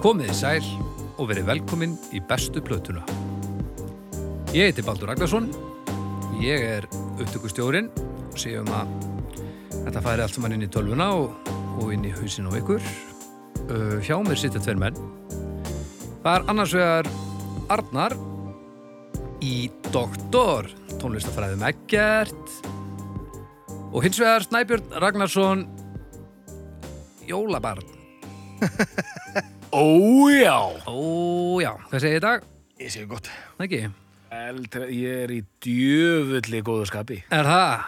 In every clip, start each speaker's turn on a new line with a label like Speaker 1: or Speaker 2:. Speaker 1: Komið í sæl og verið velkomin í bestu plötuna. Ég heiti Baldur Ragnarsson, ég er upptökustjórin og séum að þetta færi allt saman inn í tölvuna og, og inn í hausin á ykkur. Uh, hjá mér sitja tveir menn. Það er annars vegar Arnar í Doktor, tónlistafræðum Eggert og hins vegar Snæbjörn Ragnarsson, jólabarn.
Speaker 2: Ójá
Speaker 1: Ó já, hvað segir ég í dag?
Speaker 2: Ég sé gott
Speaker 1: Það ekki?
Speaker 2: Eldra, Ég er í djöfulli góðu skapi
Speaker 1: Er það?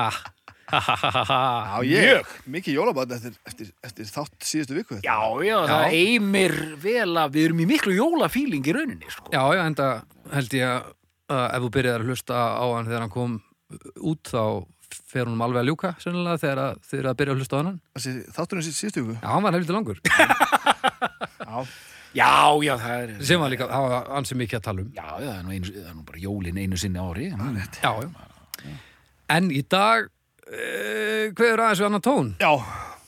Speaker 1: Ha, ha, ha, ha, ha.
Speaker 3: Já, ég, mikið jólabarn eftir, eftir, eftir þátt síðustu viku
Speaker 2: Já, já, það eimir vel að við erum í miklu jólafíling í rauninni sko.
Speaker 1: Já, já, enda held ég að ef þú byrjar að hlusta á hann þegar hann kom út þá fer hún alveg að ljúka sennilega þegar að, þegar að byrja að hlusta á hann
Speaker 3: Þessi, Þátturinn síð, síðustu viku
Speaker 1: Já, hann var helviti langur
Speaker 3: Já,
Speaker 2: já, já, það er
Speaker 1: sem var líka, það var ansi mikið að tala um
Speaker 2: Já, já, það er nú, einu, það er nú bara jólin einu sinni á ári
Speaker 3: rétt
Speaker 1: Já, já En í dag uh, hver aðeins við annan tón
Speaker 3: Já,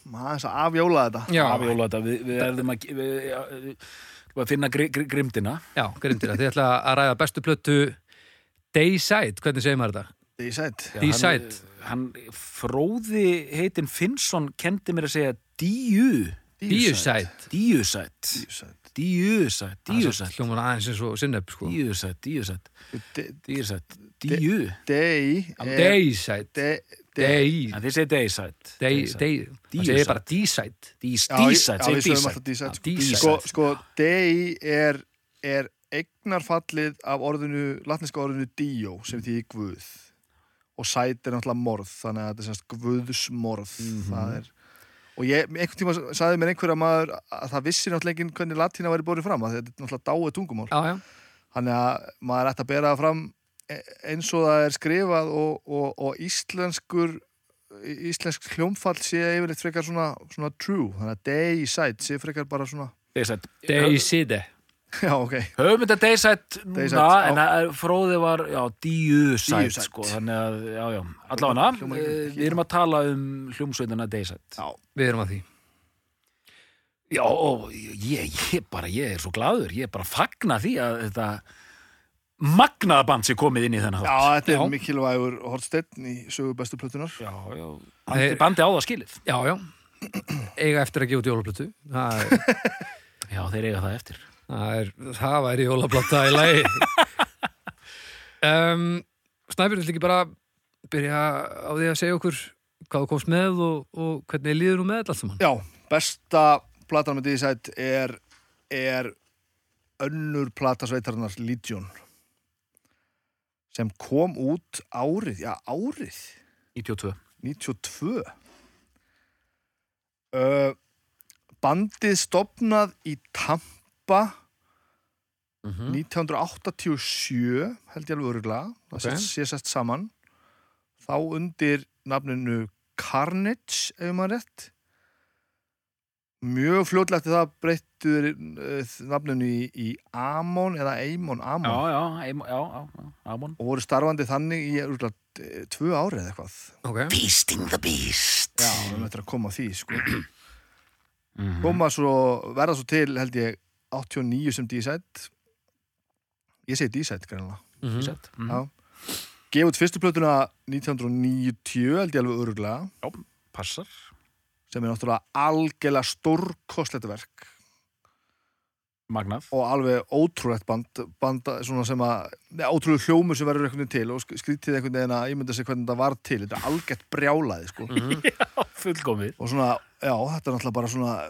Speaker 3: maður aðeins að afjóla þetta
Speaker 1: Já,
Speaker 2: Af jóla þetta, við, við erðum að við, já, við, við að finna gri, gri, grimdina
Speaker 1: já, grindir að þið ætla að ræða bestu plötu Dayside, hvernig segir maður þetta?
Speaker 3: Ég sætt
Speaker 2: Já,
Speaker 1: Dísæt.
Speaker 2: Hann, hann fróði heitin Finnsson kendi mér að segja díu
Speaker 1: Díuside
Speaker 2: Díusætt
Speaker 3: sætt
Speaker 2: Díusætt, díusætt
Speaker 1: Hljómar aðeins eins og sinneb sko.
Speaker 2: Díusætt, díusætt Dísætt, díu
Speaker 3: Dei
Speaker 1: Eh, Dayside
Speaker 3: Dei
Speaker 1: Day
Speaker 2: En þið segir deysætt
Speaker 1: Day, day, það segir bara D-side
Speaker 2: Dísætt,
Speaker 3: Já,
Speaker 2: segir
Speaker 3: við sögum
Speaker 2: dísætt
Speaker 3: alltaf dísætt
Speaker 1: Já, dísætt.
Speaker 3: Sko, sko dei er, er eignarfallið af orðinu, latniska orðinu díó sem því guð og sæt er náttúrulega morð þannig að þetta er semst guðsmorð það er og ég, einhvern tíma sagði mér einhver að maður að það vissi náttúrulega enginn hvernig latína væri borið fram að þetta er náttúrulega dáið tungumál
Speaker 1: Já, já,
Speaker 3: þannig að maður ætti að bera það fram e- eins og það er skrifað og, og, og íslenskur íslensk hljómfall sé yfirleitt frekar svona, svona true þannig að day side sé frekar bara svona
Speaker 2: Deysætt
Speaker 1: Dayside
Speaker 3: já ok,
Speaker 2: Höfum þetta deysætt
Speaker 3: Deysætt,
Speaker 2: núna
Speaker 3: já.
Speaker 2: En það er- fróði var, já, díusætt
Speaker 3: Díusætt.
Speaker 2: Sko, þannig að, já, já Allavega,
Speaker 3: Hljómar
Speaker 2: eh,
Speaker 3: ekki mikið.
Speaker 2: við erum að tala um hljómsveitina deysætt
Speaker 3: já,
Speaker 1: Við erum að því
Speaker 2: Já, ó, ég, ég bara, ég er svo gladur Ég er bara að fagna því að þetta Magnaða band sé komið inn í þennan
Speaker 3: já
Speaker 2: þátt
Speaker 3: þetta
Speaker 1: Já.
Speaker 3: er mikilvægur hortsteinn í sögu bestu plötunar
Speaker 2: Já, já
Speaker 1: Þeir-
Speaker 2: Bandi á það skilið
Speaker 1: Já, já Eiga eftir að gefa út jólablötu Það er,
Speaker 2: Já, þeir eiga það eftir
Speaker 1: það, er, það væri jólablöta í lagi um, Snæbjörn vil ekki bara byrja á því að segja okkur hvað þú komst með og, og hvernig líður þú með þetta allt saman
Speaker 3: já, besta platan með day side er, er önnur plata sveitarnar Legion sem kom út árið, já árið
Speaker 2: 92
Speaker 3: 92 uh, Bandið stopnað í Tampa
Speaker 2: Mm. Mhm.
Speaker 3: 1987 held ég alveg öruglega það
Speaker 1: Ok.
Speaker 3: okay. sé sett saman þá undir nafninu Carnage ef maður rétt mjög fljótlega eftir það breyttuður nafninu í, í Amon eða Amon, Amon
Speaker 2: Já, já, eim- já, já, já, Amon
Speaker 3: og voru starfandi þannig í öruglega eh, tvö ári eða eitthvað
Speaker 1: Ok,
Speaker 2: Beasting the Beast
Speaker 3: Já, við höfum eftir að koma að því sko. koma svo, verða svo til held ég 89 sem D-Side ég segi D-Side greinlega
Speaker 1: mm -hmm.
Speaker 2: Sett. Mhm.
Speaker 3: Já. gefa út fyrstu plötuna 1990 held ég alveg öruglega
Speaker 2: Passar
Speaker 3: sem er náttúrulega algjörlega stórkostlegt verk
Speaker 2: Magnað
Speaker 3: og alveg ótrúlegt band, band svona sem að, neða, ótrúlegt hljómur sem verður einhvern veginn til og sk- skrítið einhvern veginn að ímynda sig hvernig þetta var til, þetta er algjört brjálaði sko.
Speaker 1: Mhm.
Speaker 2: Fullkomið
Speaker 3: og svona, já, þetta er náttúrulega bara svona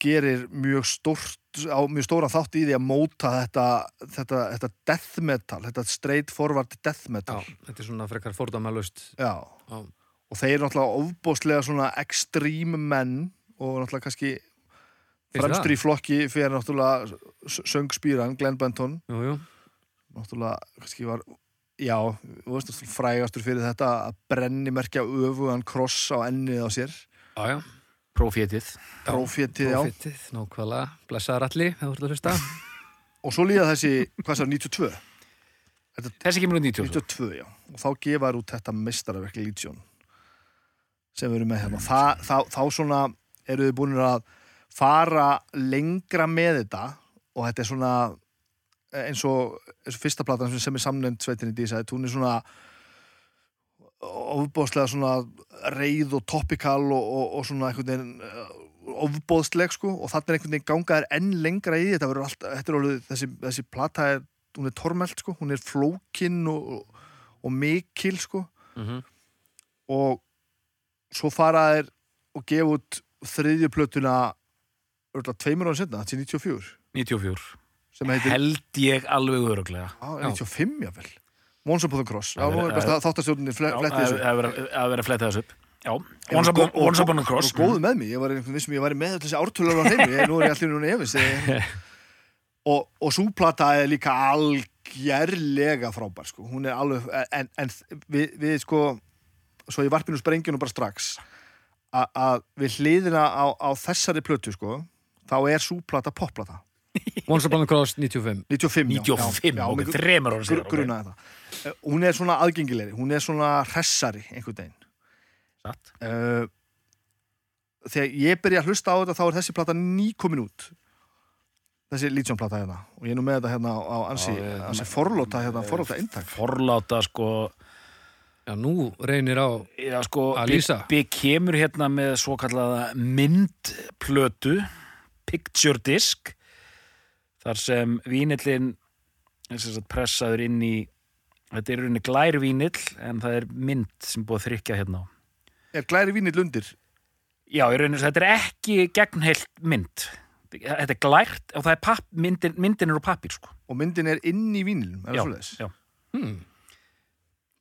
Speaker 3: gerir mjög stórt á mjög stóran þátt í því að móta þetta, þetta, þetta death metal þetta straight forward death
Speaker 1: Já,
Speaker 3: metal
Speaker 1: þetta er svona frekar fordæmalust
Speaker 3: Já.
Speaker 1: Já.
Speaker 3: og þeir eru náttúrulega ofbóðslega svona extreme menn og náttúrulega kannski
Speaker 1: Finnst þér
Speaker 3: fremstur í flokki fyrir náttúrulega s- söngspýran Glenn Benton
Speaker 1: Jú, jú,
Speaker 3: náttúrulega kannski var já, þú veist, náttúrulega frægastur fyrir þetta að brennimerkja öfugan kross á ennið á sér
Speaker 1: já, já
Speaker 2: Profétið
Speaker 3: profétið, já,
Speaker 1: Profitið, nákvæmlega, blessaðar allir, hefur þú ert að hlusta
Speaker 3: og svo líða þessi, hvað sér, 92
Speaker 2: Þessi kemur úr 92
Speaker 3: 92, já, og þá gefa þér út þetta mestaraverk Legion sem við erum með hérna Þa, þá, þá svona eru þið búinir að fara lengra með þetta og þetta er svona e, eins og, eins og fyrsta platan sem- sem er samnefnd sveitinni dísaði, hún er svona ofbóðslega svona reið og topikal og, og, og svona einhvern veginn eh, ofboðsleg sko og þarna er einhvern veginn gangaðir enn lengra í þetta verður alltaf, þetta er alveg þessi, þessi plata er, hún er tormelt sko, hún er flókin og, og mikil sko
Speaker 2: Mhm.
Speaker 3: og svo fara þeir og gefa út þriðju plötuna örgulega tveimur ára setna, þetta er 94
Speaker 2: 94
Speaker 3: sem heitir,
Speaker 2: held ég alveg öruglega
Speaker 3: á, 95 jáfnvel Once Upon the Cross, já, nú er
Speaker 2: Það er-
Speaker 3: best að þáttastjórninni
Speaker 2: Já,
Speaker 3: fletti
Speaker 2: að
Speaker 3: þessu
Speaker 2: að vera- að vera að fletta þessu upp já, once
Speaker 3: Ég var
Speaker 2: upon,
Speaker 3: góð- og-
Speaker 2: once upon a cross mm.
Speaker 3: og góðu með mig, ég var einhvern veginn sem ég væri með öll þessi ártölu á hreinu, ég, nú er ég allir núna efins ég, og, og súplata er líka algjörlega frábær sko, hún er alveg en, en við, við sko svo ég varpinu sprengjunum bara strax a- að við hliðina á, á þessari plötu sko, þá er súplata popplata,
Speaker 1: Once Upon a Cross 95
Speaker 3: 95 já,
Speaker 2: 95,
Speaker 3: já, já,
Speaker 2: ok,
Speaker 3: mig-
Speaker 2: þremur ára
Speaker 3: gr
Speaker 2: síðar
Speaker 3: gruna þetta Eh, hún er svona aðgengilegri, hún er svona hressari einhvern veginn
Speaker 2: Satt.
Speaker 3: uh, þegar ég byrja að hlusta á þetta þá er þessi plata nýkomin út þessi lítjónplata hérna og ég er nú með þetta hérna á- á ansi,
Speaker 2: Já, ég-
Speaker 3: ansi forlóta hérna, forlóta eintak
Speaker 2: forláta sko
Speaker 1: Já, nú reynir á
Speaker 2: Já, sko,
Speaker 1: Að
Speaker 2: Bi-
Speaker 1: lýsa.
Speaker 2: Bi kemur hérna með svo kallaða myndplötu, picture disc, þar sem vínillin er sem sagt pressaður inn í, þetta er í rauninni glær vínill, en það er mynd sem búið að þrykja hérna á.
Speaker 3: er glæri vínill undir
Speaker 2: Já, í rauninni þetta er ekki gegnheilt mynd. Þetta er glært og það er papp, myndin, myndin er úr pappir, sko.
Speaker 3: og myndin er inn í vínilum
Speaker 2: Já,
Speaker 3: er það svoleiðis?
Speaker 2: já.
Speaker 1: hmm,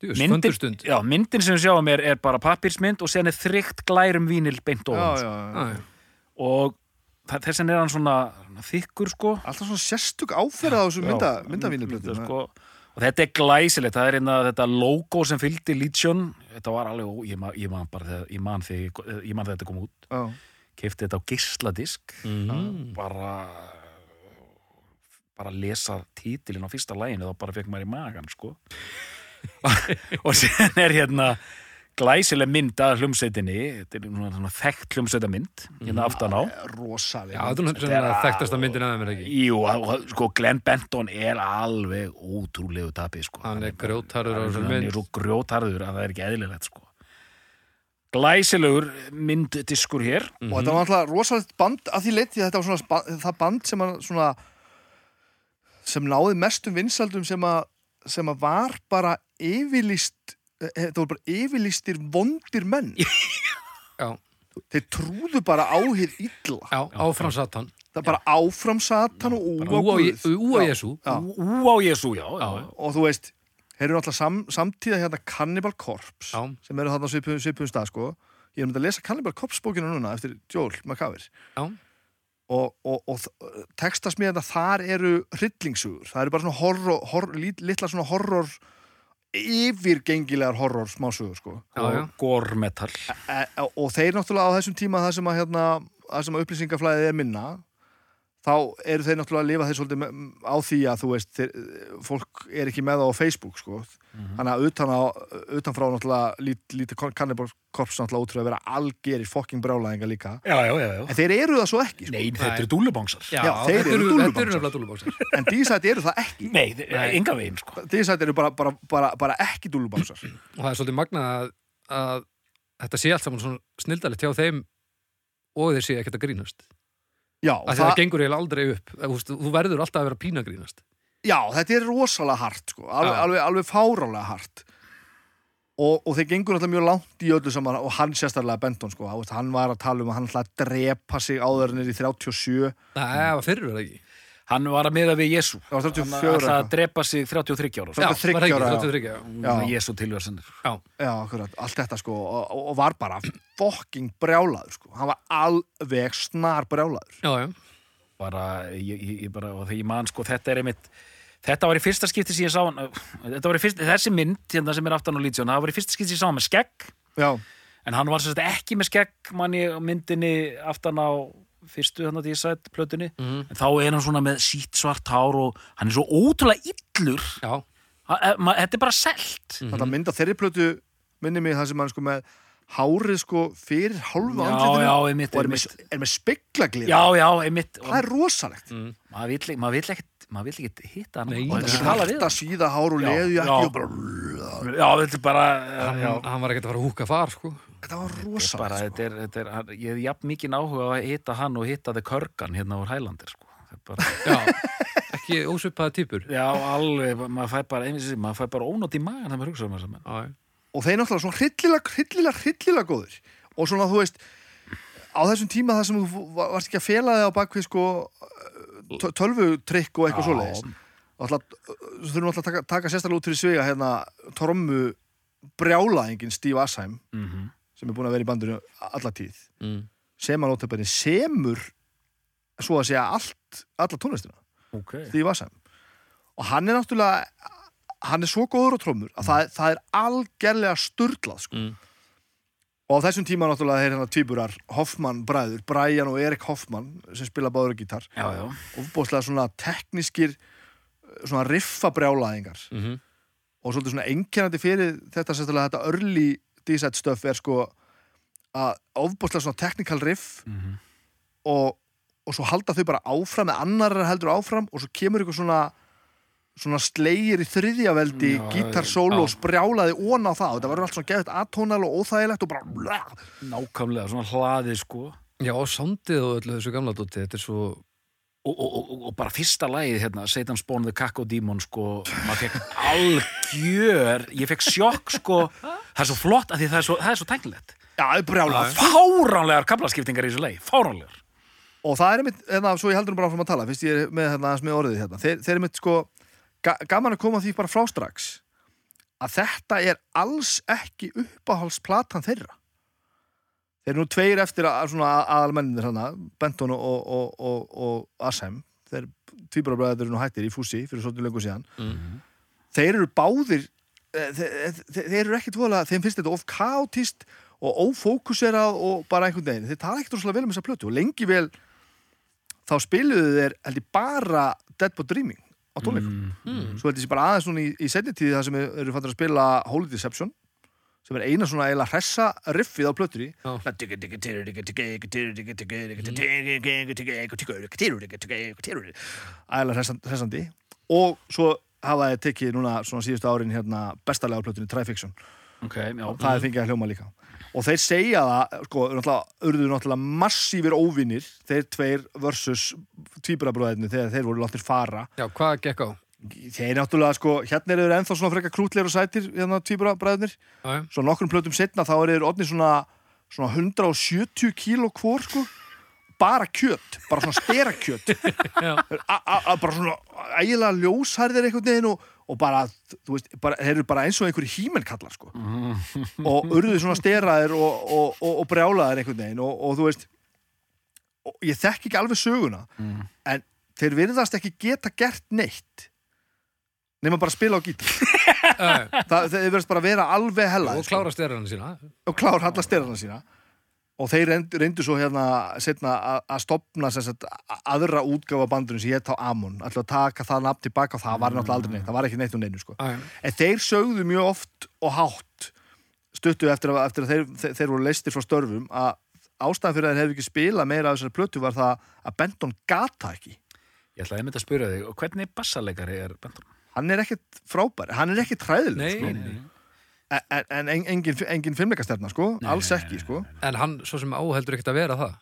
Speaker 1: djús,
Speaker 2: Myndin,
Speaker 1: föndurstund
Speaker 2: já, myndin sem við sjáum er, er bara pappirsmynd og sen er þrygt glærum vínill beint
Speaker 3: já,
Speaker 2: ofan.
Speaker 1: Já,
Speaker 3: já, já.
Speaker 1: já.
Speaker 2: og þa- þess vegna er hann svona þykkur sko
Speaker 3: alltaf svona sérstök áferð á þessu mynda, myndavínilblötu
Speaker 2: sko. og þetta er glæsilegt, það er einna þetta logo sem fylgdi Legion þetta var alveg, ó, ég, man, ég man bara þegar ég man, þegar, ég- ég man þegar þetta kom út kefti þetta á gísladisk
Speaker 1: Mm.
Speaker 2: bara bara að lesa títilin á fyrsta læginu þá bara fekk maður í magan sko og sen er hérna glæsileg mynd að hlumsveitinni þetta er svona, svona þekkt hlumsveitamynd hérna aftan á
Speaker 1: Já,
Speaker 3: rosalega
Speaker 1: þetta er
Speaker 2: Þetta
Speaker 1: svona
Speaker 2: er-
Speaker 1: þekktasta myndin af þeim er ekki
Speaker 2: Jú, og- og- sko, Glenn Benton er alveg ótrúlegu tapi, sko.
Speaker 1: Hann er grjótharður á
Speaker 2: Hann er-
Speaker 1: þessari
Speaker 2: Hann
Speaker 1: mynd.
Speaker 2: er svo grjótarður að það er ekki eðlilegt, sko. Glæsilegur mynddiskur hér.
Speaker 3: og
Speaker 1: Mhm.
Speaker 3: þetta var náttúrulega rosalegt band að því leyti að þetta var svona spa- það band sem að svona sem náði mestum vinsaldum sem að sem að var bara yfirlýst eh, þetta voru bara yfirlýstir vondir menn
Speaker 1: Já,
Speaker 3: þeir trúðu bara á hér illa
Speaker 1: já, áfram satan
Speaker 3: það er bara áfram satan og úa
Speaker 1: Ú á
Speaker 3: Guð.
Speaker 1: Je- Ú á
Speaker 3: Já.
Speaker 1: Jesú
Speaker 3: Já.
Speaker 2: Ú ú á Jésu, já. já.
Speaker 1: Já.
Speaker 3: og þú veist, þeir eru náttúrulega sam, samtíða hérna Cannibal Corpse
Speaker 1: Já.
Speaker 3: sem eru þarna á svipum, svipum stað sko ég er um að lesa Cannibal Corpse bókina núna eftir Joel McCaver
Speaker 1: Já.
Speaker 3: og, og, og þ- textast mér þetta þar eru hryllingssugur það eru bara svona horror, horror lit, litla svona horror yfirgengilegar horror smásugur sko
Speaker 1: Já, já.
Speaker 2: Gormetal.
Speaker 3: e, og þeir náttúrulega á þessum tíma það sem að, hérna, það sem að upplýsingaflæðið er minna þá eru þeir náttúrulega að lifa þeir svolítið með, á því að þú veist þeir, fólk er ekki með það á Facebook sko. þannig að utan á, utanfrá náttúrulega lít, lítið kon- Cannibal Corpse náttúrulega útrúið að vera algeri fokking brjálæðinga líka
Speaker 2: Já, já, já. já.
Speaker 3: en þeir eru það svo ekki sko.
Speaker 2: Nei, þetta eru dúlubangsar.
Speaker 1: Já,
Speaker 3: Já, þeir
Speaker 1: þetta eru
Speaker 3: eru
Speaker 1: þetta
Speaker 3: dúllubangsar.
Speaker 1: eru nefnilega dúlubangsar
Speaker 3: en dísætt eru það ekki
Speaker 2: Nei, þe-
Speaker 1: Nei.
Speaker 2: enga veginn, sko.
Speaker 3: dísætt eru bara, bara, bara, bara ekki dúlubánsar
Speaker 1: og það er svolítið magnað að, að þetta sé allt saman svona snildalegt hjá þeim og þeir sé ekkert að grínast
Speaker 3: já,
Speaker 1: að það, það gengur eiginlega aldrei upp þú, veist, þú verður alltaf að vera pína að grínast
Speaker 3: Já, þetta er rosalega hart sko. alveg,
Speaker 1: Já.
Speaker 3: alveg, alveg fárálega hart og, og þeir gengur alltaf mjög langt í öllu saman og hann sérstaklega Benton sko. Þú veist, hann var að tala um að hann ætlaði að drepa sig áður en er í 37
Speaker 1: Nei, það
Speaker 3: Mm.
Speaker 1: var fyrir verið ekki
Speaker 2: Hann var að miða við Jésu.
Speaker 3: Já, 34
Speaker 2: Hann ætlaði að
Speaker 3: eitthvað.
Speaker 2: drepa sig 33 ára.
Speaker 1: Já,
Speaker 2: sko.
Speaker 1: var það ekki,
Speaker 3: 33 ára, sko. já.
Speaker 1: 33, já.
Speaker 3: Já.
Speaker 2: Jésu tilversanir.
Speaker 3: Já, akkurat, allt þetta sko og, og- og var bara fokking brjálaður sko. hann var alveg snar brjálaður
Speaker 1: Já, já.
Speaker 2: bara, ég, ég, ég bara og þegar ég man sko, þetta er einmitt þetta var í fyrsta skipti sem ég sá hann þetta var í fyrsta, þessi mynd hérna sem er aftan á lítjón það var í fyrsta skipti sem ég sá hann með skegg
Speaker 3: Já,
Speaker 2: en hann var sérst ekki með skegg manni á myndinni aftan á fyrstu þannig að ég sætt plötunni
Speaker 1: Mhm.
Speaker 2: en þá er hann svona með sítt svart hár og hann er svo ótrúlega illur
Speaker 1: já,
Speaker 2: Ha- e- ma- þetta er bara selt
Speaker 1: Mm. Mhm.
Speaker 3: þetta mynd á þeirri plötu minni mig það sem hann sko með hárið sko fyrir
Speaker 2: já,
Speaker 3: hálfa
Speaker 2: já,
Speaker 3: andlitinu
Speaker 2: einmitt,
Speaker 3: og er með,
Speaker 2: einmitt
Speaker 3: er með speklaglið
Speaker 2: já, Mm. já, einmitt
Speaker 3: það er rosalegt
Speaker 2: maður vill, maður vill ekkert maður vill ekkert hitta hann
Speaker 1: Nei,
Speaker 2: maður
Speaker 1: það er
Speaker 2: vill ekki tala við
Speaker 3: svarta síða hár og
Speaker 2: Já,
Speaker 3: leðu
Speaker 2: já.
Speaker 3: ekki og bara
Speaker 2: hann. já, þetta er bara eh,
Speaker 1: hann,
Speaker 2: já,
Speaker 1: hann var ekkert að fara að húka far sko.
Speaker 3: þetta
Speaker 2: þetta er
Speaker 3: var
Speaker 2: bara
Speaker 3: rosalegt sko.
Speaker 2: þetta er, þetta er, hann- ég hef jafn mikið áhuga á að hitta hann og hitta þið körgan hérna úr Hælandir sko. Það er bara,
Speaker 1: já, ekki ósvipaða týpur
Speaker 2: já, alveg, maður fær bara einu sinni, maður fær bara ónátt í magan þegar maður hugsa um þess að menn
Speaker 1: Já, já.
Speaker 3: og þeir náttúrulega svona hryllilega, hryllilega, hryllilega góðir og svona þú veist á þessum tíma þar sem þú va- varst ekki að fela þig á bakvið sko tö- tölvutrykk og eitthvað
Speaker 2: Já.
Speaker 3: svoleiðis og alltaf, þú þurfum alltaf að taka, taka sérstaklega út fyrir sviga hérna trommu brjálaðingin Steve Asheim
Speaker 2: mm -hmm.
Speaker 3: sem er búin að vera í bandinu alla tíð
Speaker 1: Mm.
Speaker 3: sem að nota bæri semur svo að segja allt, alla tónlistina
Speaker 2: ok,
Speaker 3: Steve Asheim og hann er náttúrulega hann er svo góður á trommur að það, það er algerlega sturglað sko.
Speaker 1: Mm.
Speaker 3: og á þessum tíma náttúrulega þeir hérna tvíburar Hoffmann bræður, Brian og Erik Hoffmann sem spila báður gítar
Speaker 2: já, já
Speaker 3: og bóðslega svona teknískir svona riffabrjálaðingar
Speaker 1: mhm.
Speaker 3: og svolítið svona einkennandi fyrir þetta sérstaklega þetta early D-side stuff er sko að ofbúslega svona technical riff
Speaker 2: Mhm.
Speaker 3: og, og svo halda þau bara áfram eða annar er heldur áfram og svo kemur ykkur svona svona slegir í þriðja veldi
Speaker 2: Já,
Speaker 3: gítarsólu
Speaker 1: já.
Speaker 3: og sprjálaði ón á það og þetta verður allt svona geðvægt atónal og óþægilegt og bara
Speaker 2: nákvæmlega, svona hlaðið sko
Speaker 1: já, og sándið og öllu þessu gamla dóti þetta er svo,
Speaker 2: og, og, og, og bara fyrsta lagið hérna, Satan Spawn the Kakko Demon sko, maður fekk algjör ég fekk sjokk sko það er svo flott að því það er svo, það er svo tæknilegt
Speaker 3: já, það er brjálað
Speaker 2: fáránlegar kablaskiptingar í þessu lagi, fáránlegar
Speaker 3: og það er einmitt, hérna, svo ég heldur nú bara áfram að tala fyrst ég er með, hérna, aðeins með orðið hérna þeir, þeir er einmitt sko, ga gaman að koma því bara frá strax að þetta er alls ekki uppáhaldsplatan þeirra þeir eru nú tveir eftir að, svona aðalmenninir hérna, Benton og, og, og, og Asheim, þeir tvíbarabræður eru nú hættir í fúsi fyrir svolítið lengur síðan þeir eru báðir eh, þeir, þeir, þeir eru ekki tvoðlega, þeim finnst þetta of kaotist og ófókuserað og bara einhvern veginn, þeir tala ekkert rosalega vel um þessa plötu og lengi vel þá spiluðu þeir held ég bara Deadbot Dreaming á tónleikum svo held ég sé bara aðeins núna í, í setni tíð það sem þeir eru fattur að spila Holy Deception sem er eina svona eiginlega hressa riffið á plötur í ægilega hressan- hressandi og svo hafa þið tekið núna svona síðustu árin hérna bestalega á plötunni Trifiction
Speaker 2: ok, já,
Speaker 3: og það er fengið að hljóma líka og þeir segja það, sko, náttúrulega, urðu náttúrulega massífir óvinnir þeir tveir versus tvíburabróðinni þegar þeir voru láttir fara
Speaker 1: já, hvað gekk á
Speaker 3: þeir náttúrulega, sko, hérna eru þeir ennþá svona frekar krútleir og sætir, hérna tvíburabróðinir
Speaker 1: já, já.
Speaker 3: svo nokkrum plötum setna þá eru þeir orðnir svona, svona 170 kíló hvor, sko bara kjöt, bara svona sterakjöt
Speaker 1: Já.
Speaker 3: A- a- a- bara svona ægilega ljósharðir einhvern veginn og, og bara, þú veist, bara, þeir eru bara eins og einhverjir hímenkallar, sko og urðu svona steraðir og, og, og, og brjálaðir einhvern veginn og, og þú veist og ég þekk ekki alveg söguna
Speaker 1: Mm.
Speaker 3: en þeir virðast ekki geta gert neitt nema bara spila á gítar
Speaker 1: já.
Speaker 3: Það, þeir virðast bara vera alveg
Speaker 1: Eh,
Speaker 3: hella
Speaker 1: og klára styrrana sína
Speaker 3: og klár alla styrana sína og þeir reyndu, reyndu svo hérna setna að- að stopna sem sagt, a- aðra útgáfa bandurinn sem hétt á Amon ætla að taka það nafn tilbaka og það var náttúrulega aldrei neitt það var ekki neitt og neinu sko
Speaker 1: já, já.
Speaker 3: en þeir sögðu mjög oft og hátt stuttu eftir að, eftir að þeir, þeir, þeir voru leistir frá störfum að ástæðan fyrir að þeir hefðu ekki spilað meira af þessari plötu var það að Benton gata ekki
Speaker 2: ég ætlaði einmitt að spyrja þig og hvernig bassaleikari er Benton?
Speaker 3: hann er ekkit frábær, hann er ekkit træðileg
Speaker 1: Nei,
Speaker 3: sko.
Speaker 1: nei.
Speaker 3: en, en- en en- engin, engin fimmleikastefna sko, alls ekki sko.
Speaker 1: en hann svo sem áheldur ekkert að vera það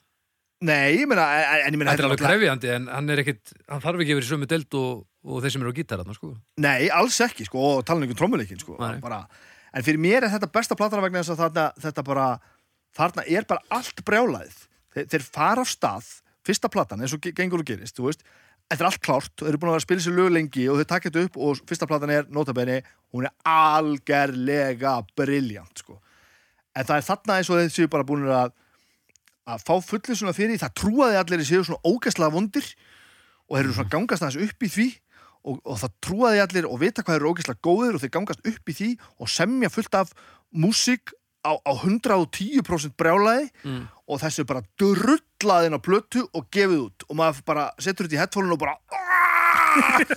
Speaker 3: Nei, ég meina, en- en ég meina
Speaker 1: þetta er alveg
Speaker 3: náttúrulega-
Speaker 1: krefjandi en hann er ekkit, hann þarf ekki að vera í sömu deild og, og þeir sem eru á gítararna sko.
Speaker 3: Nei, alls ekki, sko, og tala um trommuleikin, sko,
Speaker 1: Nei.
Speaker 3: bara, en fyrir mér er þetta besta platana vegna þess að þarna, þetta bara, þarna er bara allt brjálaðið, þeir, þeir fara af stað, fyrsta platan, eins og ge- gengur og gerist, þú veist, þetta er allt klárt, þeir eru búin að vera að spila sér lög lengi og þeir taka þetta upp og fyrsta platan er, notabenni, hún er algerlega briljant, sko, en það er þarna eins og þeir séu bara búin að, að fá fullið svona fyrir, því, það trúaði allir í séu svona ógæslega vondir og þeir eru svona gangast aðeins upp í því og, og það trúaði allir og vita hvað þeir eru ógeðslega góðir og þeir gangast upp í því og semja fullt af músík á, á 110% brjálæði og þessu er bara drullaði inn á plötu og gefið út og maður bara setur þetta í headphone og bara "Ah!" það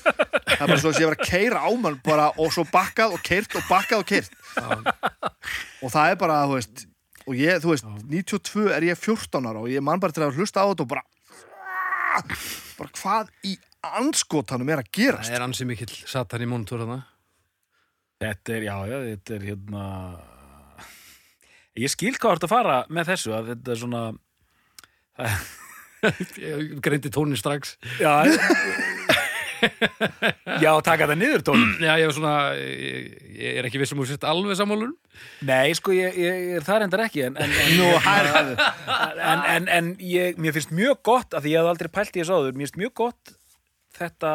Speaker 3: er bara svo að ég var að keira á mann bara, og svo bakkað og keirt og bakkað og keirt og það er bara, þú veist og ég, þú veist, 92 er ég 14 ára og ég man bara til að hlusta á þetta og bara bara hvað í anskotanum er að gerast
Speaker 1: Það er ansi mikill satan í monitor þarna.
Speaker 2: Þetta er, já, já, þetta er hérna Ég skil hvað þú ert að fara með þessu að þetta er svona
Speaker 1: Ég greindi tónin strax.
Speaker 2: Já Já, taka það niður tónum
Speaker 1: Já, ég er svona, ég, ég er ekki viss um úr sett alveg sammálun.
Speaker 2: Nei, sko, ég, ég, ég er það reyndar ekki en, en, en,
Speaker 3: Nú, hæ,
Speaker 2: en, en, en ég, mér finnst mjög gott að því ég hafði aldrei pælt í þessu áður, mér finnst mjög gott þetta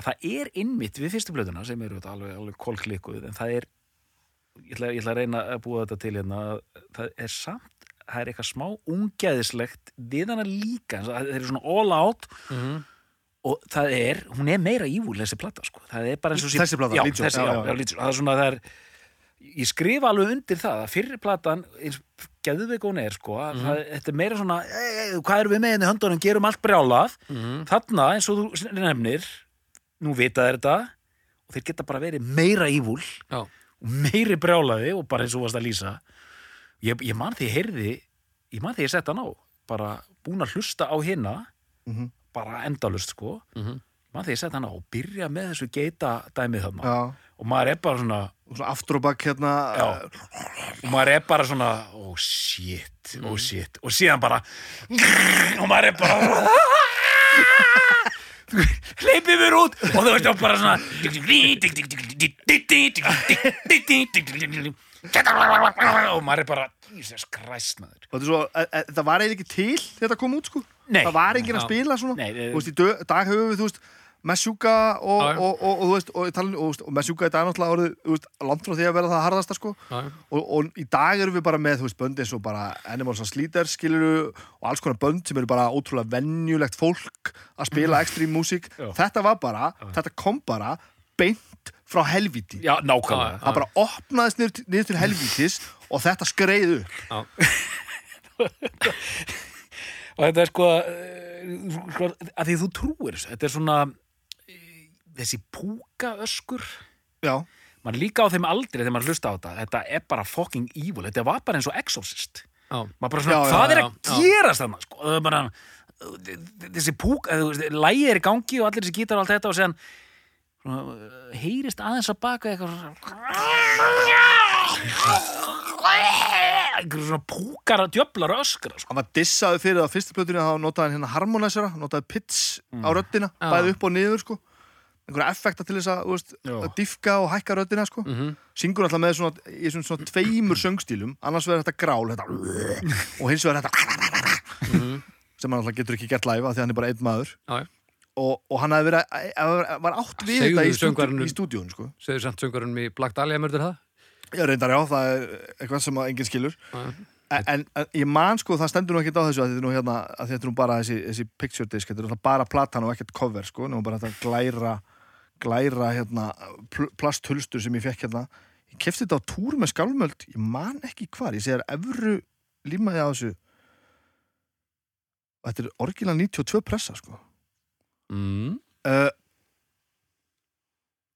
Speaker 2: að það er innmitt við fyrstu blöðuna sem eru þetta alveg, alveg kolklikkuð en það er, ég ætla, ég ætla að reyna að búa þetta til hérna að það er samt, það er eitthvað smá ungæðislegt við hana líka það er svona all out
Speaker 3: Mhm.
Speaker 2: og það er, hún er meira ívúl þessi plata sko, það er bara eins og sé-
Speaker 3: Þessi plata,
Speaker 2: já,
Speaker 3: Lítjó,
Speaker 2: þessi,
Speaker 3: já,
Speaker 2: já,
Speaker 3: já, já.
Speaker 2: já, Lítjó, það er svona, það er ég skrifa alveg undir það að fyrri platan eins geðveik og hún er sko
Speaker 3: Mhm.
Speaker 2: mm það, þetta er meira svona, "Ey, ey, hvað erum við með henni í höndunum, gerum allt brjálað
Speaker 3: Mhm.
Speaker 2: þarna eins og þú nefnir nú vita þeir þetta og þeir geta bara verið meira ívúl
Speaker 1: Já.
Speaker 2: og meiri brjálaði og bara eins og varst að lýsa ég, ég man því ég heyrði ég man því ég sett hann á bara búin að hlusta á hinna
Speaker 3: Mhm.
Speaker 2: bara endalust sko
Speaker 1: Mhm.
Speaker 2: man því ég sett hann á og byrja með þessu geita dæmið þarna
Speaker 3: já,
Speaker 2: og maður er bara svona
Speaker 3: og svona aftur og bakk hérna
Speaker 2: Já. og maður er bara svona oh shit, oh shit og síðan bara og maður er bara hleypið mér út og þú veist og bara svona og maður er bara Jesus Christ maður
Speaker 3: og þetta er svo, e, e, það var eiginlega ekki til þetta kom út sko
Speaker 2: Nei.
Speaker 3: það var enginn
Speaker 1: Já.
Speaker 3: að
Speaker 1: e-
Speaker 3: spila svona
Speaker 2: Nei, nei.
Speaker 3: þú veist, í dö- dag höfum við, þú veist Meshuga og,
Speaker 1: Já, já.
Speaker 3: og, og, og, þú veist, og, um, og, og, og, og Meshuga í dag náttúrulega orðið, þú veist, langt frá því að vera það harðasta sko
Speaker 1: Já, já.
Speaker 3: og, og í dag erum við bara með, þú veist, bönd eins og bara Animals and Sleater, skilur og alls konar bönd sem eru bara ótrúlega venjulegt fólk að
Speaker 1: Mhm.
Speaker 3: spila extreme music
Speaker 2: Já.
Speaker 3: þetta var bara, þetta kom bara beint frá helviti
Speaker 2: já, nákvæmlega
Speaker 3: það bara opnaðist niður, til- niður til helvitis og þetta skreiðu
Speaker 2: og þetta er sko eh, sko, að því þú trúir þessu þetta er svona eh, þessi púka öskur
Speaker 3: já,
Speaker 2: maður er líka á þeim aldrei þegar maður hlusta á þetta þetta er bara fucking evil, þetta var bara eins og Exorcist
Speaker 1: Já.
Speaker 2: maður bara svona,
Speaker 3: Já, já,
Speaker 2: hvað er
Speaker 1: já,
Speaker 2: að
Speaker 1: já.
Speaker 2: gerast þarna sko, það er bara þessi púk, eða þú veist, lægi er í gangi og allir þessi gítar og allt þetta og séðan svona, uh, heyrist aðeins að baka eitthvað svona einhverjum svona púkar að djöflar og öskra sko.
Speaker 3: hann var dissaði fyrir það á fyrstu plötunni þá notaði hann hérna harmonæsara, notaði pits á röddina,
Speaker 1: Mm. Já.
Speaker 3: bæði upp og niður sko einhverja effekta til þess að, þú veist,
Speaker 2: Já.
Speaker 3: að diffka og hækka röddina sko
Speaker 1: Mhm.
Speaker 3: syngur alltaf með svona, í svona, svona tveimur söngstílum annars verður þetta grál þetta, og hins vegar þetta
Speaker 1: Mhm.
Speaker 3: sem hann alltaf getur ekki gert live af því að hann er bara einn maður
Speaker 1: Já, já.
Speaker 3: og, og hann hafði verið, að- að- var átt við
Speaker 1: Segðu
Speaker 3: þetta í,
Speaker 1: söngvaranum-
Speaker 3: stúdíu, í stúdíun sko.
Speaker 1: Segðu samt söngurinn í Black Dahlia mörður það.
Speaker 3: Já, reyndar já, það er eitthvað sem að enginn skilur
Speaker 1: Já.
Speaker 3: En, en, en ég man sko, það stendur nú ekkert á þessu að þetta er nú, hérna, að þetta er nú bara þessi, þessi picture disk, þetta er náttúrulega bara platan og ekkert cover sko, nú bara þetta glæra glæra hérna pl plasthulstur sem ég fekk hérna ég kefti þetta á túr með skálmöld, ég man ekki hvar ég segir efru límaði á þessu og þetta er orginal 92 pressa sko
Speaker 1: Mm.
Speaker 3: uh,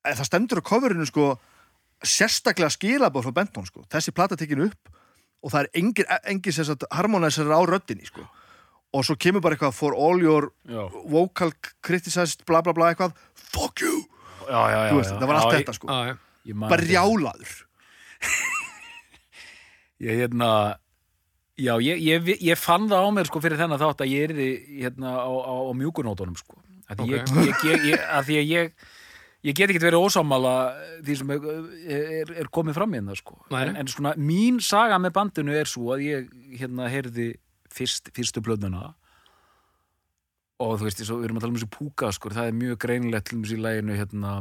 Speaker 3: eh, það stendur á coverinu sko sérstaklega skilabóð frá Benton sko. þessi plata tekinu upp og það er engin, eh, engin sem sagt harmonæsar á röddinni sko. og svo kemur bara eitthvað for all your
Speaker 2: já,
Speaker 3: vocal criticized bla bla bla eitthvað fuck you,
Speaker 2: já, já, já,
Speaker 3: þú veist, það var allt
Speaker 2: já,
Speaker 3: þetta sko,
Speaker 1: Já, já.
Speaker 2: ég- ég man
Speaker 3: bara
Speaker 2: þetta.
Speaker 3: rjálaður
Speaker 2: Ég, hérna, já, ég, ég, ég fann það á mér sko fyrir þennan þátt að ég erði hérna á, á, á mjúkunótunum sko. Að því
Speaker 1: Ok.
Speaker 2: ég, ég, ég, ég, að því að ég, ég get ekkert verið ósámála því sem er, er, er komið fram hérna sko.
Speaker 1: Nei.
Speaker 2: En, en svona mín saga með bandinu er svo að ég hérna heyrði fyrst, fyrstu blöðnuna og þú veist, svo, við erum að tala um þessu púka sko, það er mjög greinilegt til þessu í læginu hérna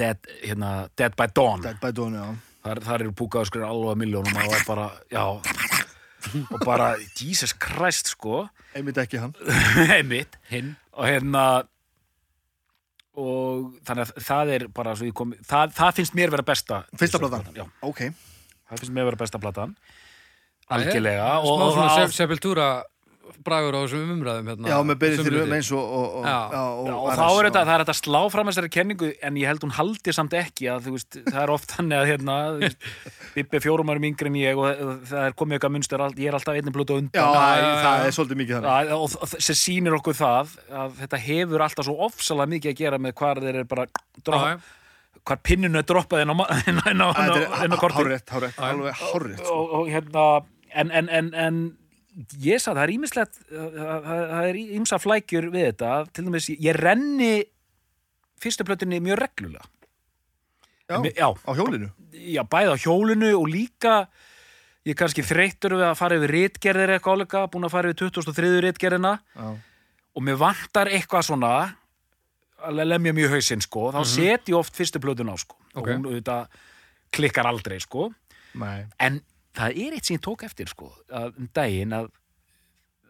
Speaker 2: Dead, hérna, Dead by Dawn
Speaker 3: Dead by Dawn, já
Speaker 2: Þar, þar eru búkaðaskur alveg að miljónum og var bara, já og bara, Jesus Christ sko
Speaker 3: einmitt ekki hann
Speaker 2: heimitt
Speaker 1: Hinn.
Speaker 2: og hérna og þannig að það er bara svo ég kom, það, það finnst mér vera besta
Speaker 3: Fyrsta platan.
Speaker 2: Já,
Speaker 3: ok,
Speaker 2: það finnst mér vera besta platan algjörlega
Speaker 1: Smá
Speaker 2: og, og
Speaker 1: svona
Speaker 2: það á-
Speaker 1: sef, sepultúra bragur á þessum umræðum hérna,
Speaker 3: Já, með byrðið
Speaker 1: þessum
Speaker 3: til
Speaker 1: hluti.
Speaker 3: eins og, og, og,
Speaker 1: Já.
Speaker 3: og,
Speaker 2: Já,
Speaker 3: og
Speaker 2: og þá er þetta, það er þetta að slá fram þessari kenningu en ég held hún haldi samt ekki að þú veist, það er oft þannig að hérna þú veist, Bibbi er fjórum árum yngri en ég og það er komið eitthvað munstur, all- ég er alltaf einnig blóta
Speaker 3: Já,
Speaker 2: undan
Speaker 3: það
Speaker 1: já, já,
Speaker 3: er- það
Speaker 1: já.
Speaker 3: er svolítið mikið þannig
Speaker 2: að, og þ- sem sýnir okkur það að þetta hefur alltaf svo ofsalega mikið að gera með hvar þeir eru bara
Speaker 1: Já,
Speaker 2: dropp,
Speaker 1: já.
Speaker 2: hvar pinninu er droppað inn á, ma- inn á, inn á, inn á,
Speaker 3: Æ, Þetta
Speaker 2: inn á
Speaker 3: er
Speaker 2: kortið
Speaker 3: hárrétt, hárrétt,
Speaker 1: Já.
Speaker 3: alveg hárrétt sko.
Speaker 2: og, og hérna en, en, en, en ég sagði það er ímislegt það það- það er ímsa flækjur við þetta til dæmis ég, ég renni fyrstu plötunni mjög reglulega
Speaker 3: Já.
Speaker 2: En mér- já,
Speaker 3: Á hjólinu
Speaker 2: já, bæði á hjólinu og líka ég er kannski þreyttur við að fara yfir ritgerðir eitthvað áleika, búin að fara yfir 2003 ritgerðina
Speaker 3: Já,
Speaker 2: og mér vantar eitthvað svona að lemja mjög hausinn sko
Speaker 3: Mhm.
Speaker 2: þá set ég oft fyrstu plötun á sko og
Speaker 1: Ok.
Speaker 2: hún auðvitað klikkar aldrei sko
Speaker 3: nei
Speaker 2: en það er eitt sem ég tók eftir sko, að, um daginn að,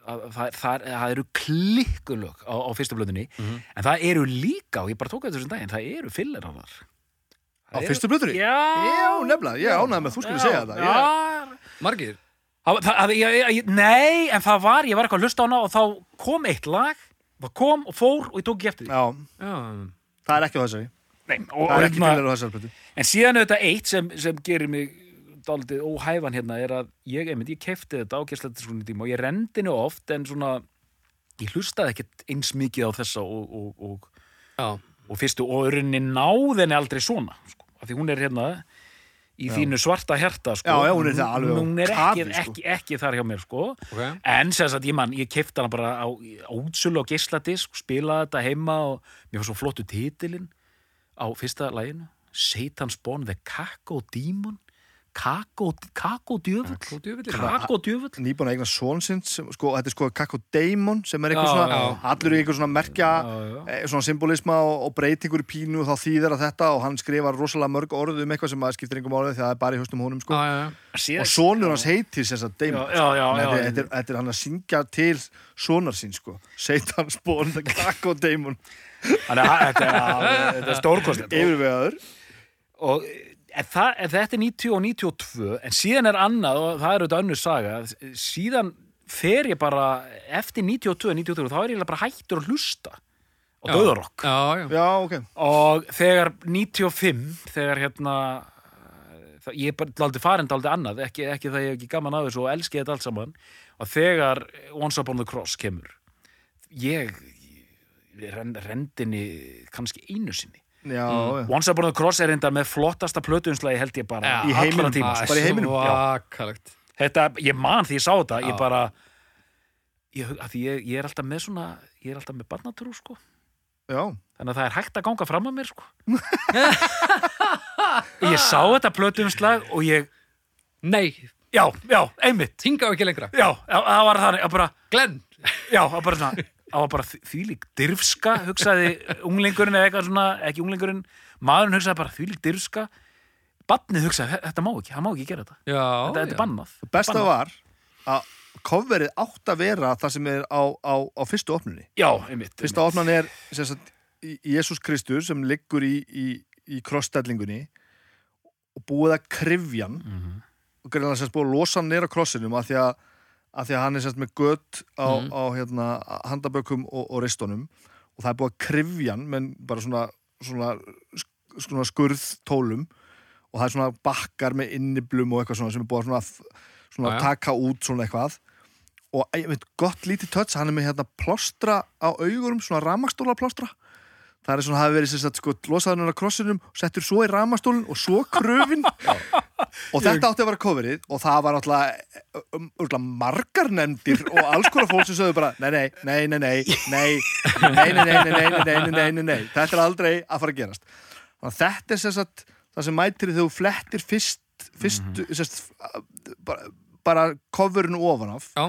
Speaker 2: að, það, það, það eru klikkulög á, á fyrstu blöðunni
Speaker 3: Mhm.
Speaker 2: en það eru líka, og ég bara tók eftir þessum daginn það eru filler á þar
Speaker 3: Á fyrstu blöðunni?
Speaker 2: Já,
Speaker 3: Já, nefnilega, ég ánægði með að þú skulle segja það
Speaker 2: Já,
Speaker 3: Ég-
Speaker 1: Margir,
Speaker 2: Það, það, að, ég, ég- ég, nei, en það var, ég var eitthvað að hlusta á hana og þá kom eitt lag, það kom og fór og ég tók ekki eftir því.
Speaker 3: Já,
Speaker 1: já,
Speaker 3: það er ekki á þessari
Speaker 2: Nei, og, og
Speaker 3: Það er ekki
Speaker 2: hérna-
Speaker 3: fylgir á þessari blöðu
Speaker 2: En síðan auðvitað eitt sem, sem gerir mig dálítið óhæfan hérna er að ég, einmitt, ég kefti þetta ágæslega til svona tíma og ég rendi henni oft en svona ég hlustaði ekkert eins mikið á þessa og, og, og,
Speaker 1: já,
Speaker 2: og fyrstu og rauninni náði henni aldrei svona sko, af því hún er hérna í þínu svarta herta sko,
Speaker 3: Já, já, hún er það alveg á
Speaker 2: hún er
Speaker 3: kafi,
Speaker 2: ekki,
Speaker 3: sko.
Speaker 2: ekki, ekki þar hjá mér sko
Speaker 1: ok
Speaker 2: En sem sagt, ég mann, ég kefti hana bara á á útsölu á geisladisk, spilaði þetta heima og mér var svo flottu titilinn á fyrsta læginu. Satan's Born, The Kakó Dímon, Kakó, Kakó Djöfull,
Speaker 1: Kakódjöfullinn.
Speaker 2: Kakó Djöfull.
Speaker 3: Nýbúin að eigna són sinn sem- sko, Þetta er sko Kakko Daemon sem er
Speaker 1: Já,
Speaker 3: eitthvað svona
Speaker 1: já.
Speaker 3: Allur í eitthvað svona merkja
Speaker 2: Já,
Speaker 3: eh, svona symbolisma og, og breytingur í pínu og þá þýðir að þetta og hann skrifar rosalega mörg orð um eitthvað sem að skiptir engum orðið því að það er bara í höstum honum sko.
Speaker 1: Já, já, já.
Speaker 3: og sonur hans heitir sem sagt Damon
Speaker 2: Ah, Já, já, já,
Speaker 3: Þetta
Speaker 2: já.
Speaker 3: er- þetta er- þetta er hann að syngja til sonar sín sko Satan Spawn, the Kakko Damon
Speaker 2: Þannig að þetta er- þetta er stórkostið.
Speaker 3: yfirvegaður
Speaker 2: og en það, en þetta er 90 og 92 en síðan er annað og það er auðvitað önnur saga síðan fer ég bara eftir 92 og 93 þá er ég eiginlega bara hættur að hlusta á döðarokk
Speaker 1: Já, já,
Speaker 3: Já, ok
Speaker 2: og þegar 95 þegar hérna það, ég er bara daldið farin daldið annað ekki, ekki það ég hef ekki gaman að þessu og elski þetta allt saman og þegar Once Upon the Cross kemur ég, ég ren- rendinni kannski einu sinni
Speaker 3: Já, já
Speaker 2: Once Upon a Cross er enda með flottasta plötuðinslagi held ég bara
Speaker 1: Já.
Speaker 3: Í heiminum,
Speaker 2: allan tíma
Speaker 1: Það
Speaker 3: bara í heiminum, já.
Speaker 1: Svakalegt
Speaker 2: þetta, ég man því ég sá þetta
Speaker 1: Já.
Speaker 2: ég bara ég, hug- af því ég, ég er alltaf með svona ég er alltaf með barnatrú sko
Speaker 3: Já,
Speaker 2: þannig að það er hægt að ganga fram að mér sko ég sá þetta plötuðinslag og ég
Speaker 1: Nei,
Speaker 2: já, já, einmitt
Speaker 1: hinga ekki lengra
Speaker 2: já, já, það var þannig að bara
Speaker 1: Glenn
Speaker 2: Já, það var bara svona það var bara þvílík dirfska hugsaði unglingurinn eða eitthvað svona ekki unglingurinn, maðurinn hugsaði bara þvílík dirfska Barnið hugsaði, þetta má ekki, það má ekki gera þetta
Speaker 1: Já,
Speaker 2: Þetta, þetta er bannað
Speaker 3: besta
Speaker 2: Bannað.
Speaker 3: var að coverið átt að vera það sem er á, á, á fyrstu opnunni
Speaker 2: Já, einmitt
Speaker 3: Fyrsta opnan er sem sagt, Jésús Kristur sem liggur í, í, í krossstellingunni og búið að krifja hann og greinlega sem sagt búið að losa hann neyra krossinum af því að, af því að hann er sem sagt, með gött á,
Speaker 1: Mhm.
Speaker 3: á hérna, handabökum og, og ristunum og það er búið að krifja hann með bara svona, svona, sk- svona skurðtólum og það er svona bakkar með inniblum og eitthvað svona sem er búið að svona, f- svona
Speaker 1: Já, já.
Speaker 3: taka út svona eitthvað og eh, ég veit gott lítið tötts hann er með hérna plástra á augurum svona ramastóla plástra það er svona hafi verið sem sagt sko losaðan á krossinum settur svo í ramastólin og svo kröfin og þetta átti að vera coverið og það var alltaf um, um, margar nefndir og alls konar fólk sem sögðu bara nei, nei, nei, nei, nei nei, nei, nei, nei, nei, nei, nei, nei, nei, nei, nei þetta er aldrei að fara að gerast Þannig að þetta er sem sagt það sem mætir þegar þú flettir fyrst fyrstu, sem sagt bara, bara coverinu ofan af
Speaker 1: Já,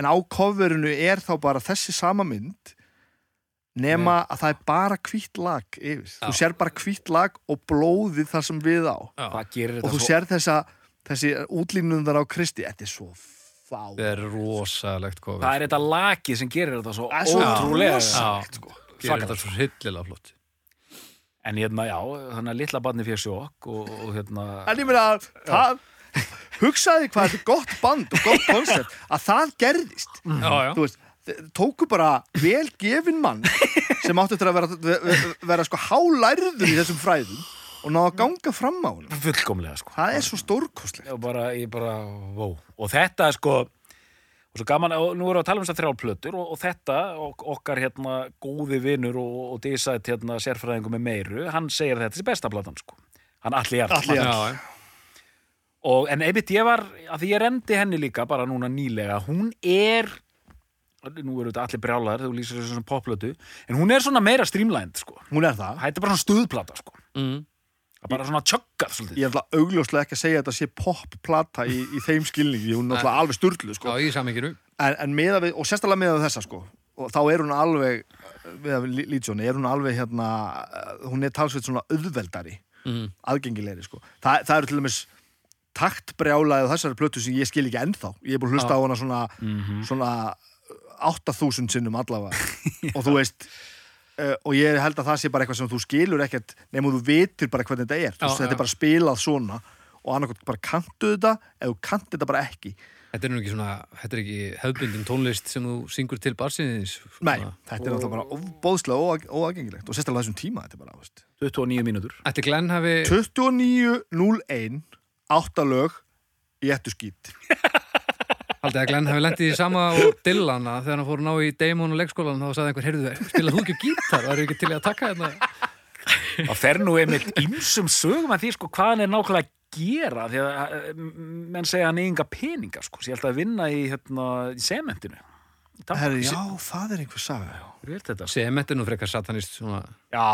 Speaker 3: en á coverinu er þá bara þessi sama mynd nema að það er bara hvítt lag yfir, þú sér bara hvítt lag og blóðið þar sem við á
Speaker 1: já
Speaker 2: Hvað gerir
Speaker 3: og
Speaker 2: þetta
Speaker 3: þú sér þessa þessi útlínundar á Kristi þetta er svo fá
Speaker 1: Það er rosalegt kofið
Speaker 2: Það er þetta laki sem gerir þetta svo
Speaker 3: Það er svo
Speaker 2: ótrúlega
Speaker 1: rosalegt,
Speaker 2: sko.
Speaker 1: Gerir þetta svo hryllilega flott
Speaker 2: En hérna, já, þannig að litla barni fyrir sjokk og, og hérna
Speaker 3: en ég meina að það hugsaði hvað þetta er gott band og gott koncept að það gerðist
Speaker 1: já, já.
Speaker 3: þú veist, þe- tóku bara vel gefin mann sem átti eftir að vera, ve- ve- vera sko hálærður í þessum fræðum og náða að ganga fram á hann
Speaker 2: fullkomlega sko
Speaker 3: það er svo stórkostlegt
Speaker 2: og bara, ég bara, vó og þetta er sko og svo gaman, og nú erum við að tala um þessar þrjár plötur og, og þetta, ok, okkar hérna góði vinur og, og dísætt hérna sérfræðingu með meiru, hann segir að þetta sé besta platan sko, hann allir hjartmann
Speaker 3: Atli Jarl.
Speaker 1: Já, já.
Speaker 2: og en einmitt ég var, að því ég rendi henni líka bara núna nýlega, hún er nú eru þetta allir brjálaðar þú lýsir þessu sem poplötu, en hún er svona meira streamlined sko,
Speaker 3: hún er það
Speaker 2: þetta er bara svona stuðplata sko,
Speaker 1: Mm.
Speaker 2: það er bara svona tjöggað svolítið,
Speaker 3: ég er alltaf augljóslega ekki að segja að þetta sé popplata í, í þeim skilningi, hún er alltaf alveg styrlu sko.
Speaker 1: já, í saminginu
Speaker 3: en, en meða við, og sérstaklega meða við þessa sko og þá er hún alveg meða við Lítsjóni, er hún alveg hérna eh, hún er talsveit svona auðveldari
Speaker 1: Mhm.
Speaker 3: aðgengilegri sko Þa, það eru til dæmis taktbrjálaðið þessari plötu sem ég skil ekki ennþá ég er búin að hlusta á hana svona, svona 8000 sinnum allavega og þú veist uh, og ég held að það sé bara eitthvað sem þú skilur ekkert nema þú vitir bara hvernig þetta er
Speaker 1: Já,
Speaker 3: já, þetta
Speaker 1: já.
Speaker 3: er bara spilað svona og annarkot bara kanntu þetta eða þú kannt þetta bara ekki
Speaker 1: Þetta er nú ekki svona, þetta er ekki hefðbundin tónlist sem þú syngur til barsinniðins
Speaker 3: Nei, þetta er náttúrulega bara ofbóðslega óag óagengilegt og sérstaklega á þessum tíma þetta er bara, þú veist.
Speaker 2: 29 mínútur
Speaker 1: Ætli Glenn hafi
Speaker 3: 29.01 áttalög í ettu skýt
Speaker 1: Haldið að Glenn hefði lendið í sama og Dylan að þegar hann fór að ná í Damon og leikskólan þá sagði einhver, heyrðu, spilað þú ekki á gítar það eru ekki til í að taka hérna?" þetta
Speaker 2: Það fer nú einmitt ymsum sögum að því sko hvað hann er nákvæmlega að gera því að eh, m- menn segja að hann eigi enga peninga sko, sér alltaf að vinna í, hérna, í sementinu.
Speaker 3: Herri, já, það er einhver saga já.
Speaker 2: Sér er þetta? sko.
Speaker 1: Sement er nú frekar satanist svona,
Speaker 2: Já,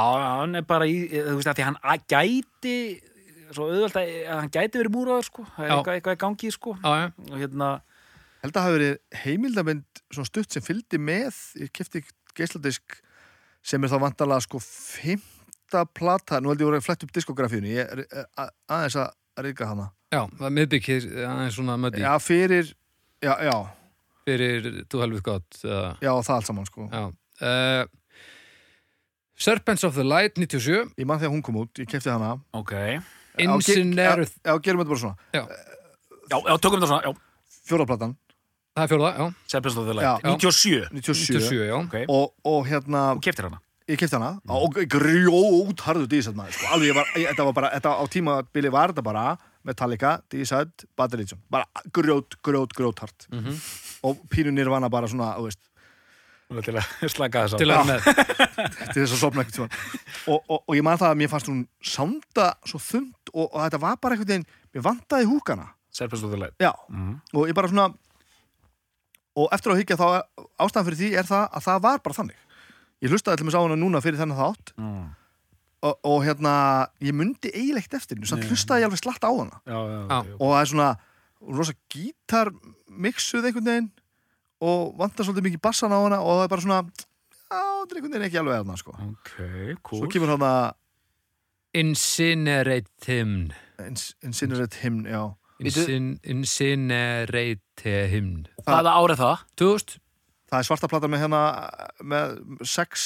Speaker 2: hann er bara í, eh, þú veist að því að hann a- gæti, svo auðvöld að eh, að hann gæti verið múraður sko, það er
Speaker 1: Já.
Speaker 2: eitthvað, eitthvað í gangi sko
Speaker 1: á, já,
Speaker 2: og hérna,
Speaker 3: Held að hafa verið heimildamind svona stutt sem fylgdi með ég kefti geisladisk sem er þá vantarlega sko fymta plata, nú held ég voru að flett upp diskografíunni ég er er a- aðeins að reyka hana
Speaker 1: já, það er miðbyggir aðeins svona möddi
Speaker 3: Já, fyrir, já, já,
Speaker 1: fyrir Þú helvið gott uh,
Speaker 3: já, það allt saman sko
Speaker 1: já. Uh, Serpents of the Light 97
Speaker 3: Ég man þegar hún kom út, ég kefti hana
Speaker 2: ok,
Speaker 1: Incinerator,
Speaker 3: Já, ge- já, gerum þetta bara svona
Speaker 2: já, já tökum þetta svona, já,
Speaker 3: Fjóraplatan,
Speaker 1: það er fjórða, já,
Speaker 2: sefnstofðurlega,
Speaker 3: Já.
Speaker 2: 97,
Speaker 3: 97
Speaker 1: 97, já
Speaker 2: ok,
Speaker 3: og, og hérna,
Speaker 2: og keftir hana.
Speaker 3: ég kefti hana og grjót harðu dísætt maður sko. alveg, ég var, ég, þetta var bara, þetta á tímabili var þetta bara Metallica, dísætt, Badelítsson bara grjót, grjót, grjót hart og pínunir vana bara svona þú veist,
Speaker 2: Nú Til að slaka þess
Speaker 1: til
Speaker 2: að.
Speaker 1: að vera með,
Speaker 3: til þess að sopna eitthvað tíma og, og, og ég man það að mér fannst hún sanda svo þund og, og þetta var bara einhvern veginn mér vantaði húkana
Speaker 2: Sefnstofðurlega.
Speaker 3: Já,
Speaker 2: Mm.
Speaker 3: og ég bara svona og eftir að hyggja þá ástæðan fyrir því er það að það var bara þannig ég hlustaði allir með sá hana núna fyrir þennan þátt
Speaker 2: Mm.
Speaker 3: og, og hérna ég mundi eiginlega eiginlegt eftir henni, samt hlustaði ég alveg slatt á hana
Speaker 2: Já, já,
Speaker 1: Já.
Speaker 2: ok, ok.
Speaker 3: og það er svona rosa gítar mixuð einhvern veginn og vantar svolítið mikið bassan á hana og það er bara svona já, það er einhvern veginn ekki alveg aðna sko.
Speaker 2: Ok, cool.
Speaker 3: svo kemur hana
Speaker 1: Incineratim
Speaker 3: Incinerate Hymn, já
Speaker 1: Incin, Incinerate himn
Speaker 2: Hvaða árið það?
Speaker 1: 2000
Speaker 3: það er svarta plata með hérna með sex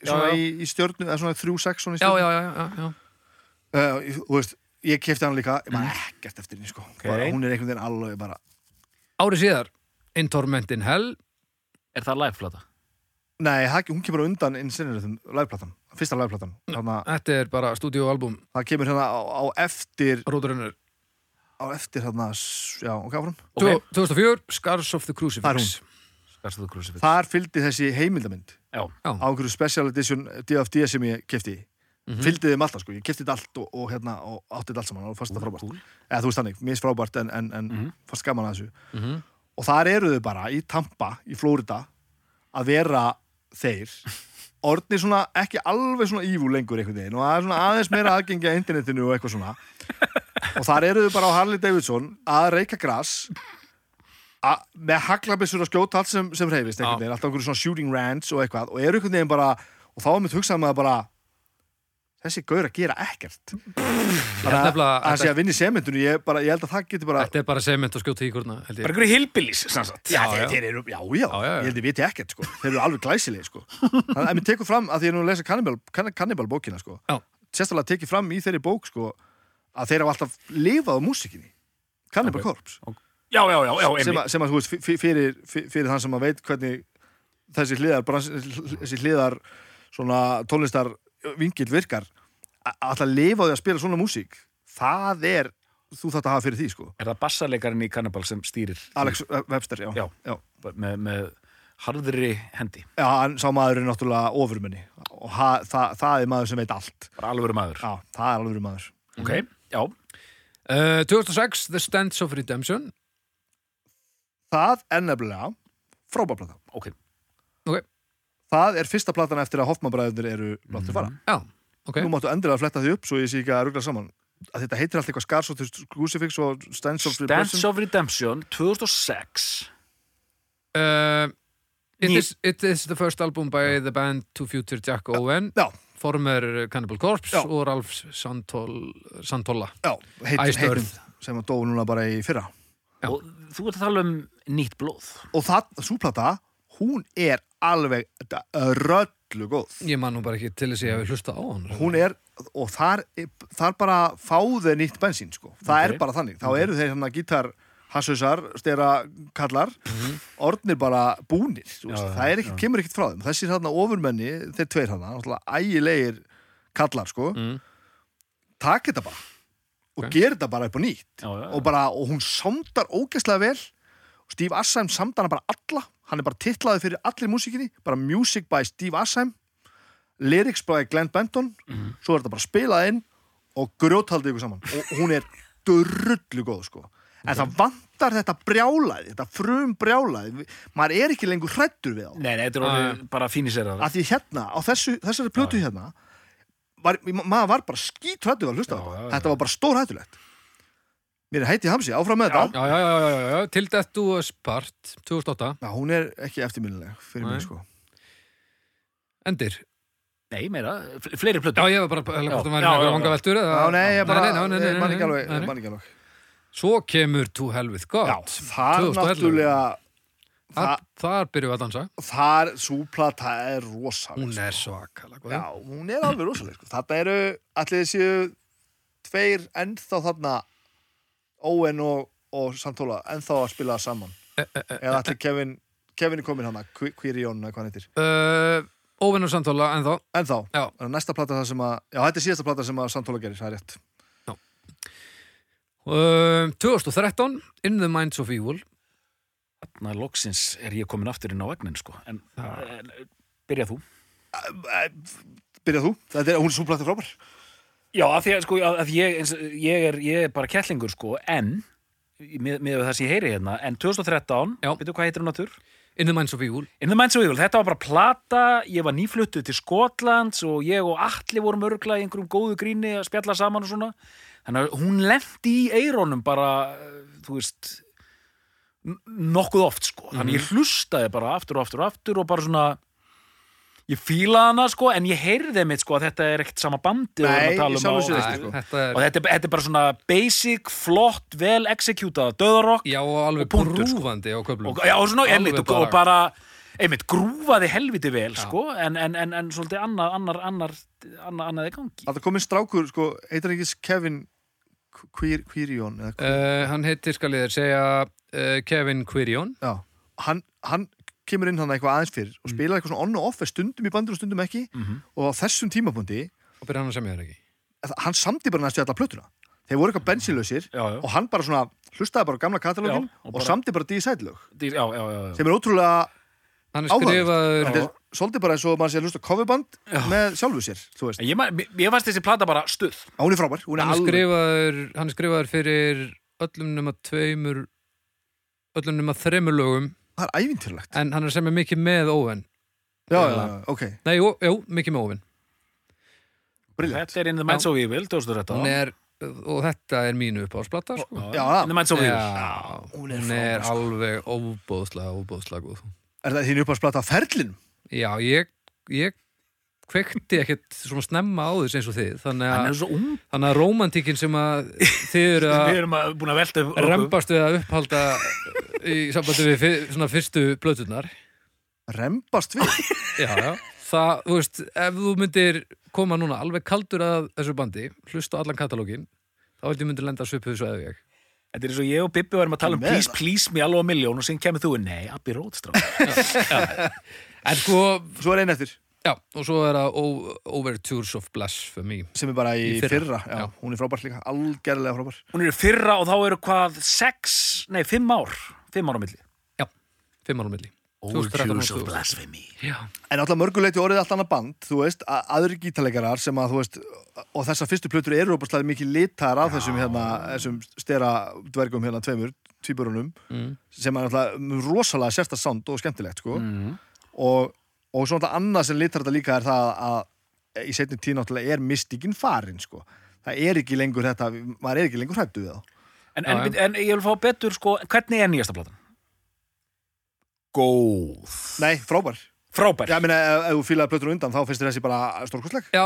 Speaker 3: svona
Speaker 2: Já, já.
Speaker 3: Í, í stjörnu, eða svona þrjú sex svona í
Speaker 1: já,
Speaker 3: stjörnu
Speaker 1: já, já, já, já.
Speaker 3: uh, þú veist, ég kefti hann líka ég
Speaker 2: Mm.
Speaker 3: maður ekkert eftir henni sko bara, hún er einhvern veginn alveg bara
Speaker 1: Árið síðar, In Torment in Hell
Speaker 2: Er það live-flata?
Speaker 3: nei, það- hún kemur á undan insinniðum lagplatan, fyrsta lagplatan þannig að
Speaker 1: Þetta er bara stúdíóalbum
Speaker 3: það kemur hérna á, á eftir
Speaker 1: Róðurinnur
Speaker 3: á eftir hérna, s- já, og gáfram
Speaker 2: Ok.
Speaker 1: 2004, Scars of the Crucifix
Speaker 3: Það er hún.
Speaker 2: Skarstu þú krusifix?
Speaker 3: þar fylgdi þessi heimildamind
Speaker 2: Já.
Speaker 3: á einhverju special edition DFD sem ég kefti mm -hmm. fylgdi þeim alltaf sko, ég kefti þetta allt og, og hérna, og átti þetta allt saman og fannst þetta frábært
Speaker 2: Cool.
Speaker 3: eða þú veist þannig, mér finnst frábært en, en, en fannst gaman að þessu
Speaker 1: Mhm.
Speaker 3: og þar eru þau bara í Tampa, í Flórida að vera þeir orðnir svona, ekki alveg svona ívú lengur einhvern veginn og það er svona aðeins meira aðgengi að internetinu og eitthvað svona og þar eru þau bara á Harley Davidson að reyka gras að- með haglabissur að skjóta allt sem, sem reyfist einhvern
Speaker 1: Já.
Speaker 3: veginn, alltaf einhverju svona shooting range og eitthvað og eru einhvern veginn bara, og þá er mitt hugsað maður bara þessi gaur að gera ekkert
Speaker 1: held
Speaker 3: bara
Speaker 1: nefnilega-
Speaker 3: að sé að vinna í sementunum ég, bara, ég held að það getur bara
Speaker 1: Þetta er bara sement og skjóta í hverna held
Speaker 2: Bara
Speaker 1: ég.
Speaker 2: einhverju hilbilis, sannsagt.
Speaker 3: Já,
Speaker 1: já,
Speaker 3: þeir,
Speaker 1: já.
Speaker 3: þeir eru, já, já,
Speaker 1: já, já.
Speaker 3: ég held ég viti ekkert sko. þeir eru alveg glæsilegir sko. Þannig að mér tekur fram, að því ég er nú að lesa Cannibal, Can- Cannibal bókina sko.
Speaker 1: Já.
Speaker 3: sérstaklega tekið fram í þeirri bók sko, að þeir hafa alltaf lifað á músikinni Cannibal
Speaker 2: Ok.
Speaker 3: Corpse
Speaker 2: já, já, já, já
Speaker 3: sem, að, sem að þú veist, f- f- fyrir, f- fyrir þann sem að veit hvernig þessi hliðar, brans, þessi hliðar svona tónlistar vingill virkar a- að alltaf lifa á því að spila svona músík það er, þú þátt að hafa fyrir því sko
Speaker 2: er það bassarleikarinn í Cannibal sem stýrir því?
Speaker 3: Alex Webster, já
Speaker 2: Já.
Speaker 3: já.
Speaker 2: með, með harðri hendi
Speaker 3: Já, hann sá maður er náttúrulega ofurmenni og ha, það, það er maður sem veit allt
Speaker 2: bara alvöru maður
Speaker 3: já, það er alveg maður
Speaker 2: ok, já,
Speaker 1: Uh, 2006, The Stands of Redemption
Speaker 3: það er nefnilega frábæplata
Speaker 2: ok
Speaker 1: Ok,
Speaker 3: það er fyrsta platan eftir að Hoffmannbræður eru láttu fara
Speaker 1: já, ok
Speaker 3: nú máttu endilega að fletta því upp svo ég sé ekki að ruggla saman að þetta heitir allt eitthvað Scars of the Crucifix og Stands of the
Speaker 2: Dance of Redemption 2006
Speaker 1: uh, it,
Speaker 2: Ný-
Speaker 1: is, it is the first album by the band To Future Jack Owen
Speaker 3: Já,
Speaker 1: former Cannibal Corpse
Speaker 3: Já.
Speaker 1: og Ralf Santol, Santolla
Speaker 3: já, heitin,
Speaker 1: Iced
Speaker 3: heitin
Speaker 1: Earth.
Speaker 3: sem að dó núna bara í fyrra
Speaker 1: Já.
Speaker 2: og þú ert að tala um nýtt blóð
Speaker 3: og það, súplata, hún er alveg röllu góð
Speaker 1: ég man nú bara ekki til þess að ég hef hlusta á hann
Speaker 3: hún er, og þar, þar bara fáðu nýtt bensín sko, það
Speaker 2: Ok.
Speaker 3: er bara þannig, þá eru þeir hann að gítar hasshausar, stera kallar orðnir bara búnir já,
Speaker 2: Mhm. Já,
Speaker 3: það er ekkit, kemur ekkit frá þeim þessir hann ofurmenni, þeir tveir hann náttúrulega ægilegir kallar sko
Speaker 2: Mhm.
Speaker 1: Mm.
Speaker 3: takk þetta bara og
Speaker 1: Ok.
Speaker 3: okay. gera þetta bara upp á nýtt
Speaker 2: já, já,
Speaker 3: og, bara, og hún samdar ógeðslega vel Steve Assheim samdar hann bara alla hann er bara titlaði fyrir allir músikinni bara Music by Steve Assheim Lyrics by Glenn Benton
Speaker 2: Mhm.
Speaker 3: svo er þetta bara spilað inn og grjóthaldið ykkur saman og hún er drullu góð sko en það vantar þetta brjálaði þetta frum brjálaði maður er ekki lengur hrættur við á
Speaker 2: nei, nei, þetta er orðið bara fínisera
Speaker 3: að því hérna á þessu, þessari plötu hérna var, ma- maður var bara skítrættu að hlusta á
Speaker 2: Já, já, já.
Speaker 3: þetta þetta var bara stórhættulegt mér er heiti hamsi, áfram með
Speaker 1: já,
Speaker 3: þetta
Speaker 1: já, já, já, já, já, til Death Do Us Part 2008,
Speaker 3: Já, hún er ekki eftirminnileg fyrir
Speaker 1: Nei.
Speaker 3: mig sko
Speaker 1: endir
Speaker 2: nei, meira, fl- fleiri plötu
Speaker 1: já, ég var bara að hvort það
Speaker 2: Já,
Speaker 1: væri
Speaker 2: já,
Speaker 1: einhver
Speaker 2: já.
Speaker 1: vanga veltur
Speaker 3: Já, nei, ég bara,
Speaker 1: nei, nei, nei, nei,
Speaker 3: ég man ekki
Speaker 1: nei,
Speaker 3: alveg,
Speaker 1: nei,
Speaker 3: ég
Speaker 1: nei.
Speaker 3: man ekki alveg
Speaker 1: svo kemur To Hell With God
Speaker 3: Já,
Speaker 1: 2011.
Speaker 3: þar náttúrulega
Speaker 1: þar, þar byrjum við að dansa
Speaker 3: þar súplata er rosaleg
Speaker 1: hún
Speaker 3: sko.
Speaker 1: er svakalega góð.
Speaker 3: Já, hún er alveg rosaleg sko. Þetta eru, allir séu tveir ennþá þarna Owen og, og Santóla ennþá að spila saman
Speaker 1: Eh,
Speaker 3: eða allir Kevin, Kevin er komin hana Quirion, eða hvað hann heitir
Speaker 1: uh, óvinnur samtóla en þá
Speaker 3: ennþá,
Speaker 1: Já.
Speaker 3: Það er næsta plata það sem að já, þetta er síðasta plata sem að Santóla gerir, það er rétt
Speaker 1: uh, 2013 In the Minds of Evil
Speaker 2: Ná, loksins er ég komin aftur inn á vagnin sko. en, en byrja þú
Speaker 3: Byrjað þú, þetta er, hún er súplata frábær
Speaker 2: já, af því að, sko, að að ég, eins, ég, er, ég er bara kettlingur sko, en með, með það sem ég heyri hérna en 2013,
Speaker 1: Já.
Speaker 2: veitu hvað heitir hún aftur?
Speaker 1: In the Minds of Evil
Speaker 2: In the Minds of Evil, þetta var bara plata, ég var nýfluttuð til Skotlands og ég og Atli vorum örgla í einhverjum góðu gríni að spjalla saman og svona. Þannig að hún lendi í eirónum bara, eh, þú veist, n- nokkuð oft sko.
Speaker 3: Mhm.
Speaker 2: Þannig ég hlustaði bara aftur og aftur og aftur og bara svona, ég fílaði hana sko, en ég heyrði mitt sko að þetta er ekkert sama bandi og við erum
Speaker 3: Nei,
Speaker 2: að tala
Speaker 3: í
Speaker 2: um
Speaker 3: sjálfu
Speaker 2: á-
Speaker 3: sér
Speaker 1: Æ,
Speaker 3: ekki, sko.
Speaker 1: þetta
Speaker 2: Og
Speaker 1: er
Speaker 2: þetta, er- þetta er bara svona basic, flott, vel executað, döðarokk
Speaker 1: já og alveg
Speaker 2: og punktur, sko.
Speaker 1: grúfandi á köflum
Speaker 2: og, já, og svona,
Speaker 1: Alveg
Speaker 2: einmitt, og,
Speaker 1: bara-
Speaker 2: og bara einmitt, grúfaði helviti vel sko, en, en, en, en svolítið annar annar, annar, annar, annar er gangi
Speaker 3: Það komið strákur, sko, heitir ekki Kevin Quir, Quirion eða, uh,
Speaker 1: uh, hann heitir skal ég þér segja uh, Kevin Quirion
Speaker 3: já, hann, hann kemur inn hann eitthvað aðeins fyrir
Speaker 2: Mm.
Speaker 3: og spilar eitthvað svona on og off er stundum í bandur og stundum ekki
Speaker 2: Mhm.
Speaker 3: og á þessum tímapunkti
Speaker 1: og byrja hann að semja þér ekki
Speaker 3: að- hann samdi bara næstu alla plötuna þeir voru eitthvað bensinlausir
Speaker 2: já, já.
Speaker 3: og hann bara svona hlustaði bara á gamla
Speaker 2: Já,
Speaker 3: katalógin
Speaker 2: og
Speaker 3: og,
Speaker 2: bara-
Speaker 3: samdi bara dísætlög
Speaker 2: Dýr- já, já, já, já.
Speaker 3: sem er ótrúlega
Speaker 1: hann er
Speaker 3: áhugaður
Speaker 1: skrifaður
Speaker 3: Þetta er svolítið bara eins og maður sé að hlusta á coverband með sjálfu sér, þú veist
Speaker 2: En Ég, man- mér- mér fannst þessi plata bara stuð
Speaker 3: Á, hún er frábær, hún er
Speaker 1: hann er
Speaker 3: alveg
Speaker 1: skrifaður hann er skrifaður fyrir öllum nema tveimur öllum nema þremur lögum
Speaker 3: það er ævintýrlegt
Speaker 1: en hann er semja mikið með óven
Speaker 3: já, já, já, ok,
Speaker 1: nei, jú, jú mikið með óven
Speaker 3: briljant
Speaker 2: Þetta er In the Minds of Evil 2013
Speaker 1: Hún er, og þetta er mínu uppáðsplata sko.
Speaker 2: Já,
Speaker 3: Já.
Speaker 2: In the Minds of Evil
Speaker 1: Já, hún er, alveg óbóðslega, óbóðslega góð
Speaker 3: er það þín uppáðsplata ferlin?
Speaker 1: Já, ég, ég kveikti ekkert svona snemma á þess eins og þið þannig
Speaker 2: Hann er
Speaker 1: að,
Speaker 2: svo ung
Speaker 1: þannig að rómantíkin sem að þið eru
Speaker 2: Við
Speaker 1: að
Speaker 2: erum að, búin að velta upp
Speaker 1: rembast við að upphalda í sambandi við fyr, svona fyrstu blötunar
Speaker 3: rembast við
Speaker 1: Já, já Það, þú veist, ef þú myndir koma núna alveg kaldur að þessu bandi, hlusta á allan katalógin þá held ég myndir lenda svipuð svo eða ég
Speaker 2: Þetta er eins og ég og Bibbi varum að tala um
Speaker 3: Með
Speaker 2: please,
Speaker 3: það.
Speaker 2: please me alveg að miljón og síðan kemur þú inn, nei, Abbi Rótstrá
Speaker 1: En sko,
Speaker 3: Svo er einn eftir
Speaker 1: já, og svo er það O- Overtures of Blasphemy.
Speaker 3: sem er bara í,
Speaker 1: Í fyrra,
Speaker 3: fyrra, já.
Speaker 1: já.
Speaker 3: Hún er frábær líka, algerlega frábær
Speaker 2: Hún er í fyrra og þá eru hvað sex, nei, fimm ár fimm ár á milli
Speaker 1: Já, fimm ára milli. 2013
Speaker 2: Overtures of
Speaker 1: 2000.
Speaker 2: Blasphemy
Speaker 1: Já,
Speaker 3: En alltaf mörguleiti orðið allt annað band, þú veist, a- aðrir gítalegarar sem að, þú veist, og þessar fyrstu plötur eru opaslega mikið litar af þessum hérna, þessum stera dvergum hérna tveimur, tvíburunum,
Speaker 1: Mm.
Speaker 3: sem er alltaf rosalega sérsta sound og skemmtilegt, sko. Og, og svo alltaf annað sem litar þetta líka er það að í setni tíð náttúrulega er mystikinn farin, sko. Það er ekki lengur þetta, maður er ekki lengur hrættu við það.
Speaker 2: En, en,
Speaker 1: Já,
Speaker 2: en, ég vil fá betur, sko, hvernig er nýjasta platan? Góð
Speaker 3: Nei, frábær.
Speaker 2: Frábær
Speaker 3: Já, ég meina, ef, ef þú fílaði plötur undan, þá finnst þér þessi bara stórkostleg.
Speaker 1: já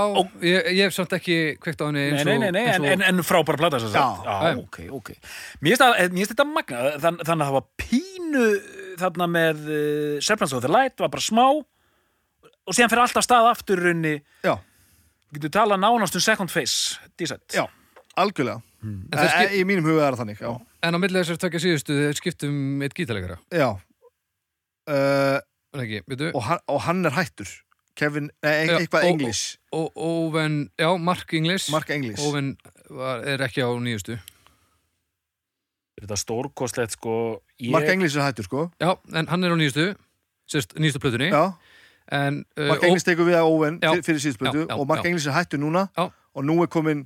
Speaker 1: ég, ég hef samt ekki kveikt á henni
Speaker 2: Nei,
Speaker 1: eins og...
Speaker 2: nei, nei, nei,
Speaker 1: eins
Speaker 2: en,
Speaker 1: og-
Speaker 2: en, en frábæra plata sem sagt.
Speaker 3: Já.
Speaker 2: já,
Speaker 1: Já.
Speaker 2: ok, ok Mér finnst að- mér finnst þetta magna Þann, Þannig að það var pínu þarna með uh, Serpents of the Light var bara smá og síðan fyrir alltaf stað aftur í rauninni
Speaker 3: Já,
Speaker 2: getur talað nánast um second face dísætt
Speaker 3: já, algjörlega.
Speaker 1: Mm. En þeir skip-
Speaker 3: Skil... Í mínum huga er það þannig, já.
Speaker 1: En á milli þessar tökja síðustu þeir skiptum eitt gítalegara
Speaker 3: Já uh,
Speaker 1: Er það ekki, veitu
Speaker 3: og, hann, og hann er hættur Kevin, nei,
Speaker 1: Já,
Speaker 3: ein- eitthvað
Speaker 1: ó-
Speaker 3: English
Speaker 1: og Óven, já, Mark Inglis
Speaker 3: Mark English
Speaker 1: Óven var, er ekki á nýjustu
Speaker 2: Þetta er stórkostlegt sko ég,
Speaker 3: Mark English er hættur sko
Speaker 1: Já, en hann er á nýjustu Sérst, nýjustu plötunni
Speaker 3: já,
Speaker 1: En uh,
Speaker 3: Mark English tekur við að Owen
Speaker 1: Já.
Speaker 3: fyrir, fyrir síðspöldu
Speaker 1: Já, já,
Speaker 3: og Mark
Speaker 1: já.
Speaker 3: English er hættur núna
Speaker 1: Já.
Speaker 3: og nú er komin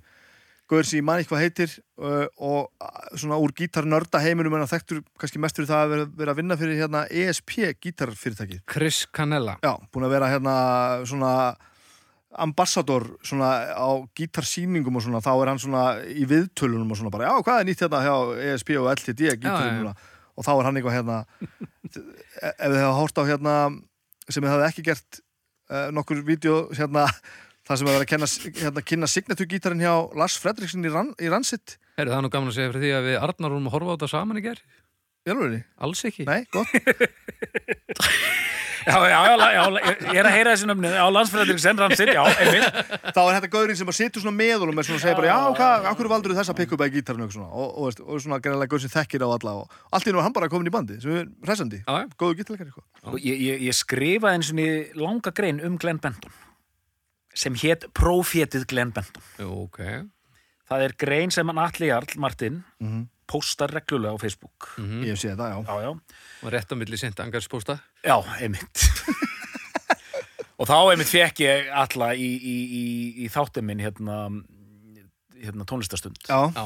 Speaker 3: Guður sem ég mann eitthvað heitir uh, og uh, svona úr gítarnörda heiminum en að þekktur kannski mest fyrir það að vera, vera að vinna fyrir hérna ESP gítarfyrirtæki
Speaker 1: Chris Canella
Speaker 3: Já, búin að vera hérna svona ambassador svona á gítarsýningum og svona, þá er hann svona í viðtölunum og svona bara, já, hvað er nýtt hérna hjá ESP og LTD
Speaker 1: Já, já,
Speaker 3: gítarunum
Speaker 1: já.
Speaker 3: og þá er hann eitthvað hérna e, ef þið hafa hórt á hérna sem þið hafið ekki gert uh, nokkur vídeo hérna það sem hefur verið að kenna, hérna, kynna signatur gítarinn hjá Lars Fredriksson í, ran, í Ransit
Speaker 1: Herru, það er nú gaman að segja fyrir því að við Arnar vorum að horfa á þetta saman í ger
Speaker 3: Jálfurinni?
Speaker 1: Alls ekki
Speaker 3: Nei, gott
Speaker 2: já, já, já, já, ég- ég er að heyra þessu nöfni á landsfyrirtæk sem rannsinn, já, einmitt
Speaker 3: þá er þetta gaurinn sem að situr svona með honum og svona segir bara, já, hvað, akkur valdur þess að pikka upp að gítarinu og, eitthvað svona. og, og, veist, og svona greinlega gaur sem þekkir á alla og allt í nú er hann bara komin í bandi sem er hressandi,
Speaker 1: Já, já.
Speaker 3: góðu gítarleikar sko.
Speaker 2: Og ég, ég, ég skrifaði eins og niður langa grein um Glenn Benton sem hétt Profétið Glenn Benton
Speaker 1: Jú, ok
Speaker 2: Það er grein sem hann Atli Jarl, Martin
Speaker 3: Mhm.
Speaker 2: postar reglulega á Facebook
Speaker 1: Mhm.
Speaker 3: ég hef séð þetta, já,
Speaker 2: Já, já,
Speaker 1: Og rétt á milli sent angarspósta
Speaker 2: já, einmitt Og þá einmitt fekk ég alla í, í, í, í þáttum minn hérna, hérna tónlistastund
Speaker 3: já.
Speaker 1: Já,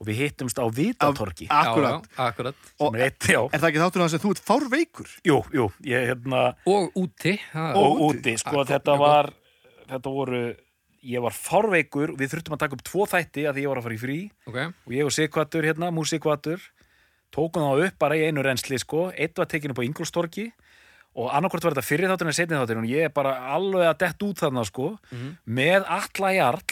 Speaker 2: og við hittumst á Vitatorki
Speaker 3: Af- akkurat.
Speaker 1: já, já, akkurat
Speaker 2: sem er eitt, já,
Speaker 3: er það ekki þáttur hans að þú ert fárveikur
Speaker 2: jú, jú ég, hérna,
Speaker 1: Og úti það-
Speaker 2: og
Speaker 3: úti.
Speaker 2: úti, sko,
Speaker 1: Ah,
Speaker 2: þetta
Speaker 1: mjög
Speaker 2: var þetta voru, ég var fárveikur við þurftum að taka upp tvo þætti að því ég var að fara í frí
Speaker 1: Ok,
Speaker 2: og ég og Sigvatur hérna, músikvatur tókum þá upp bara í einu rensli sko, eitt var tekinu upp á Ingolstorki og annarkvort var þetta fyrir þátturinn en setni þátturinn og ég er bara alveg að dett út þarna sko, með alla jarl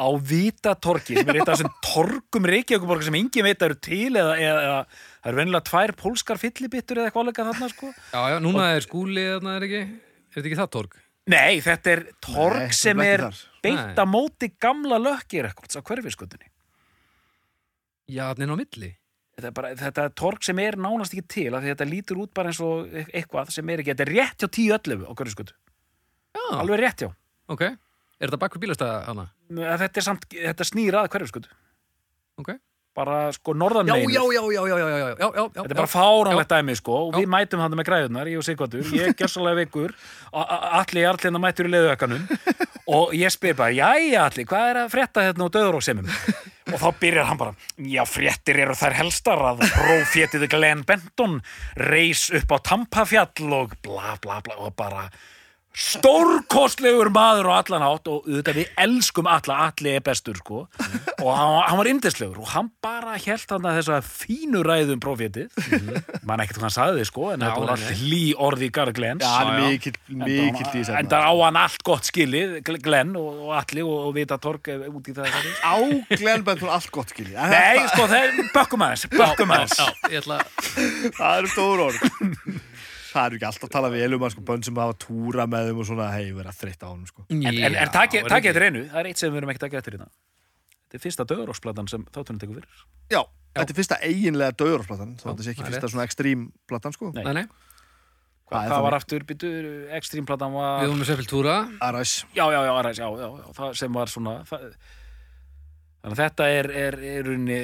Speaker 2: á Vítatorki sem er eitt af þessum torgum Reykjavíkuborga sem engin veit að eru til eða, eða, eða það eru venjulega tvær pólskar fyllibittur eða eitthvað leika þarna sko
Speaker 1: já, já, núna er skúli þarna er ekki Er þetta ekki það torg?
Speaker 2: Nei, þetta er torg
Speaker 3: Nei, þetta
Speaker 2: sem
Speaker 3: er
Speaker 2: er
Speaker 3: ekki þar.
Speaker 1: Nei.
Speaker 2: beint að móti gamla lökkir ekkert á hverfiskutinni
Speaker 1: Já, þannig inn á milli
Speaker 2: þetta er bara, þetta er torg sem er nánast ekki til af því þetta lítur út bara eins og e- eitthvað sem er ekki, þetta er rétt hjá tíu öllu á Görðuskutu,
Speaker 1: Já,
Speaker 2: alveg rétt hjá
Speaker 1: ok Er þetta bakku bílastæða hana?
Speaker 2: Að þetta er samt, þetta snýr að Hverfiskutu
Speaker 1: Ok
Speaker 2: bara sko norðan
Speaker 1: já,
Speaker 2: megin
Speaker 1: já, já, já, já, já, já, já, já, já
Speaker 2: þetta er bara fáránlegt dæmi sko og
Speaker 1: Já.
Speaker 2: við mætum hann með græðunar, ég og Sigvatur ég er gjössalega veikur, a- a- Atli er allir mættur í leðuökanum og ég spyr bara, jæja Atli, hvað er að frétta hérna á döðuróksemum og þá byrjar hann bara, já fréttir eru þær helstar að prófétið Glenn Benton reis upp á Tampafjall og bla bla bla og bara stórkostlegur maður á allan átt og auðvitað við elskum alla, allir er bestur sko og hann, hann var yndislegur og hann bara held hann að þess að fínu ræðum prófétið mann ekkert hvað hann sagði sko
Speaker 1: Mhm.
Speaker 2: en
Speaker 1: Já,
Speaker 2: þetta voru
Speaker 1: nei,
Speaker 2: allt hlý orði í garð Glenns
Speaker 3: já, hann er
Speaker 1: já.
Speaker 3: mikill, mikill í
Speaker 2: en það á hann allt gott skilið Gl- Glenn og, og allir og, og vita torg eh, út í það það-
Speaker 3: áglenbænt hún allt gott gilji það
Speaker 2: Nei, sko, það er bökkum aðeins, bökkum aðeins
Speaker 1: Já, ég ætla
Speaker 3: eru stór orð það eru ekki alltaf að tala vel um hann sko, bönn sem hafa túra með þeim og svona hei, vera þreytt á honum sko.
Speaker 2: En, en, en takk ég þetta reynu, það er eitt sem við erum ekki að geta hérna þetta er fyrsta döðuróksplatan sem þáttunum tekur fyrir
Speaker 3: Já, þetta er fyrsta eiginlega döðurplatan þá
Speaker 1: Já,
Speaker 3: þetta sé ekki
Speaker 1: það er
Speaker 3: fyrsta
Speaker 1: rétt.
Speaker 3: svona ekstrím platan sko
Speaker 2: Nei.
Speaker 1: Nei, nei,
Speaker 3: Hvað er
Speaker 2: það
Speaker 3: það
Speaker 2: var
Speaker 3: með-
Speaker 2: aftur byttur, ekstrímplatan var
Speaker 1: við vorum með Seppeltúra
Speaker 3: Aræs
Speaker 2: já, já, já, aðræs, já, já, já, það sem var svona það, þannig að þetta er, er, er runni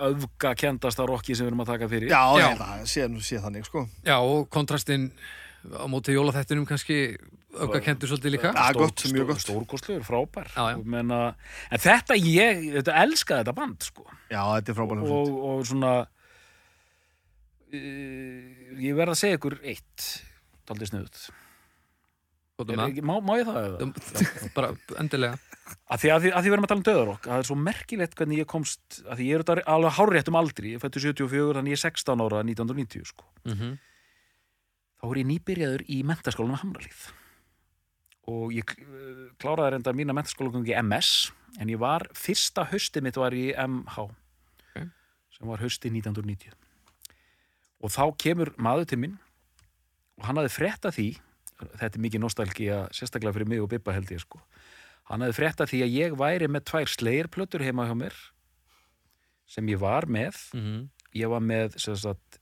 Speaker 2: öfga kendasta rokki sem við erum að taka fyrir
Speaker 3: Já,
Speaker 1: Já.
Speaker 3: já. það sé, nú sé þannig sko
Speaker 1: Já, og kontrastinn á móti jólaþættinum kannski auka kendur svolítið líka
Speaker 3: Já, gott, mjög gott.
Speaker 2: stórkostlegur, frábær
Speaker 1: Já, já.
Speaker 2: Og Meina, en þetta ég, þetta elskaði þetta band sko.
Speaker 3: Já, þetta er frábæðan
Speaker 2: og, og svona uh, ég verð að segja ykkur eitt daldið sniðut
Speaker 1: Skotum
Speaker 2: er,
Speaker 1: það.
Speaker 2: ekki- má, má ég það?
Speaker 1: Um
Speaker 2: eða?
Speaker 1: Bara endilega
Speaker 2: Að því, að, því, að því við erum að tala um döðarokk að það er svo merkilegt hvernig ég komst að því ég er þetta alveg hárrétt um aldri ég fættu 74, þannig ég er 16 ára 1990 sko.
Speaker 1: Mhm.
Speaker 2: þá er ég nýbyrjaður í mentaskólanum Hamralíð og ég eh, kláraði reynda mína mentaskólagungi MS en ég var, fyrsta haustið mitt var í MH sem var haustið 1990 og þá kemur maður til minn og hann hafði frétta því þetta er mikið nostalgía sérstaklega fyrir mig og Bibba held ég sko hann hafði frétta því að ég væri með tvær slegirplötur heima hjá mér sem ég var með
Speaker 1: Mhm.
Speaker 2: ég var með sem sagt,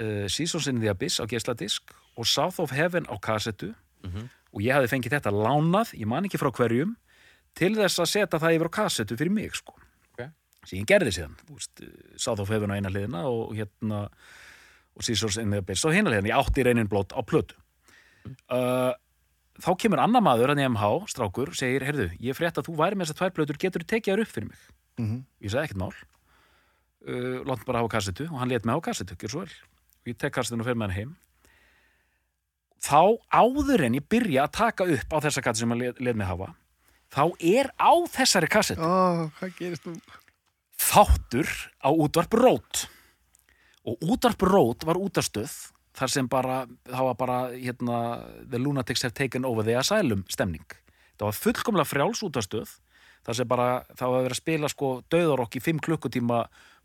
Speaker 2: uh, Seasons in the Abyss á geisladisk og South of Heaven á kassettu
Speaker 1: mhm,
Speaker 2: og ég hafði fengið þetta lánað, ég man ekki frá hverjum til þess að setja það yfir á kassettu fyrir mig sko
Speaker 1: Ok.
Speaker 2: sem ég gerði síðan, þú veist, eh, South of Heaven á eina hliðina og hérna og Seasons in the Abyss á hina hliðina, ég átti reynin blót á plötu uh, þá kemur annar maður hann í MH, strákur, segir, heyrðu, ég frétt að þú væri með þessar tvær plötur, getur þú tekið þær upp fyrir mig
Speaker 3: Mhm.
Speaker 2: ég sagði ekkert mál uh, látt bara hafa kassetu og hann let mig hafa kassetu, gjör svo vel og ég tek kassetun og fer með hann heim þá áður en ég byrja að taka upp á þessa kassetu sem hann let, let mig hafa þá er á þessari kassetu
Speaker 3: Ó, hvað gerist nú?
Speaker 2: þáttur á útvarp rót og útvarp rót var útastöð þar sem bara, það var bara hérna, the lunatics have taken over the asylum stemning, það var fullkomlega frjáls útastöð, þar sem bara það var verið að spila sko döðarokk í 5 klukkutíma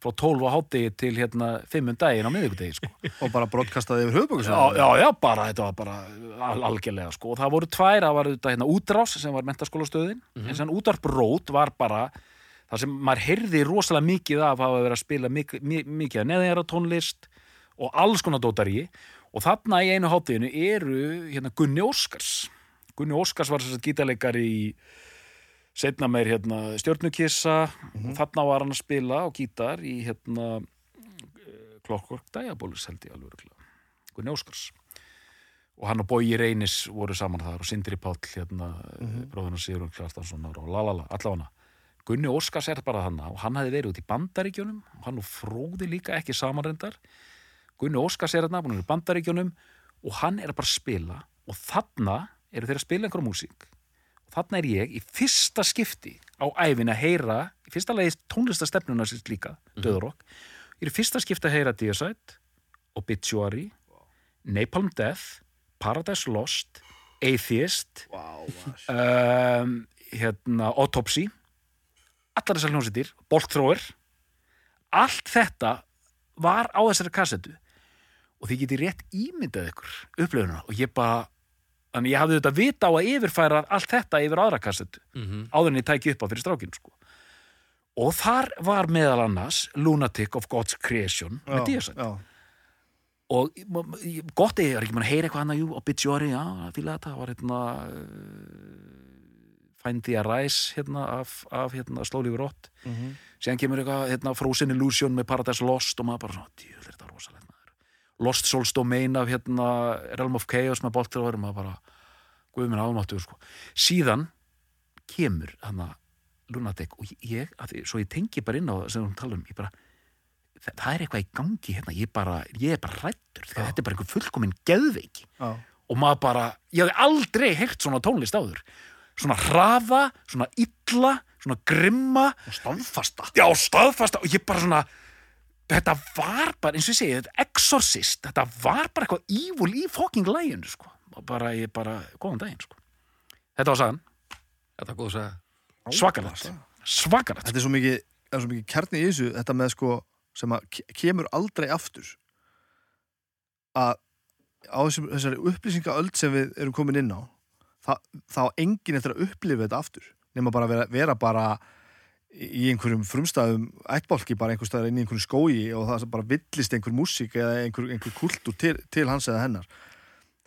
Speaker 2: frá 12 á hátdegi til hérna 5 um daginn á miðvikudegi sko
Speaker 3: Og bara brottkastaði yfir höfuböku
Speaker 2: já, já, já, bara, þetta var bara al algjörlega, sko, og það voru tvær það var þetta hérna útrás sem var mentaskólastöðin en sem útarp rót var bara það sem maður heyrði rosalega mikið af hafa verið að spila mikið, mikið af neðinjara tónlist og alls konar dótari og þarna í einu hátíðinu eru hérna Gunni Óskars Gunni Óskars var þess að gítarleikari í setna meir hérna stjörnukissa og þarna var hann að spila á gítar í hérna Clockwork Diabolus held ég alveg örugglega. Gunni Óskars og hann og Bogi Reynis voru saman þar og Sindri Páll hérna, mm -hmm. bróðurna Sigurinn Kjartanssonar og lalala, allavega Gunni Óskars er bara þannig og hann hafði verið út í bandaríkjunum og hann og fróði líka ekki samanrendar Gunni Óskars er þarna, hann er í bandaríkjunum og hann er bara að spila og þarna eru þeir að spila einhverja músík og þarna er ég í fyrsta skipti á æfin að heyra í fyrsta lagi tónlistastefnuna sér líka, mm ég er í fyrsta skipti að heyra Deicide, Obituary Napalm Death, Paradise Lost, Atheist,
Speaker 3: Vá, maður.
Speaker 2: um, hérna, Autopsy, allar þessar hljómsveitir, Bolkþróir, allt þetta var á þessari kassetu og þið getið rétt ímyndað ykkur upplöfununa og ég bara, þannig ég hafði þetta vita á að yfirfæra allt þetta yfir á aðra kassetu
Speaker 1: Mhm.
Speaker 2: áður en ég tæki upp á fyrir strákinu sko. og þar var meðal annars Lunatic of God's Creation með
Speaker 3: Já,
Speaker 2: Deicide
Speaker 3: já.
Speaker 2: og m- m- ég- gott er, ég er ekki mann að heyra eitthvað annað, jú, obituary, já, það fíla þetta það var hérna uh, Find the Arise hérna, af, af hérna, Slowly Rot
Speaker 3: Mhm.
Speaker 2: síðan kemur eitthvað, hérna, Frozen Illusion með Paradise Lost og maður bara svona, djú, þetta er rosalegt maður. Lost Souls Domain af hérna, Realm of Chaos með Boltrafur maður bara, guð minn ámáttur sko. síðan kemur hana, Lunatic og ég, að því, svo ég tengi bara inn á það sem hún tala um, ég bara það, það er eitthvað í gangi hérna, ég, bara, ég er bara rættur, þetta er bara einhver fullkomin geðveik
Speaker 3: já.
Speaker 2: og maður bara, ég hafði aldrei heyrt svona tónlist áður svona hraða, svona illa svona grimma
Speaker 3: Og staðfasta
Speaker 2: já, staðfasta og ég bara svona þetta var bara, eins og ég segi, þetta exorcist þetta var bara eitthvað evil í fucking læginu, sko, og bara, ég bara góðan daginn, sko, þetta var sagan
Speaker 1: Þetta er góð að segja
Speaker 2: svakalegt, svakalegt
Speaker 3: Þetta er svo mikið, það er svo mikið kjarni í þessu Þetta með sko, sem að ke- kemur aldrei aftur Að á þessum, þessari upplýsingaöld sem við erum komin inn á það, þá engin eftir að upplifa þetta aftur nema bara að vera, vera bara í í einhverjum frumstæðum ættbálki bara einhver staðar inn í einhverjum skói og það bara villist einhver músík eða einhver, einhver kultúr til, til hans eða hennar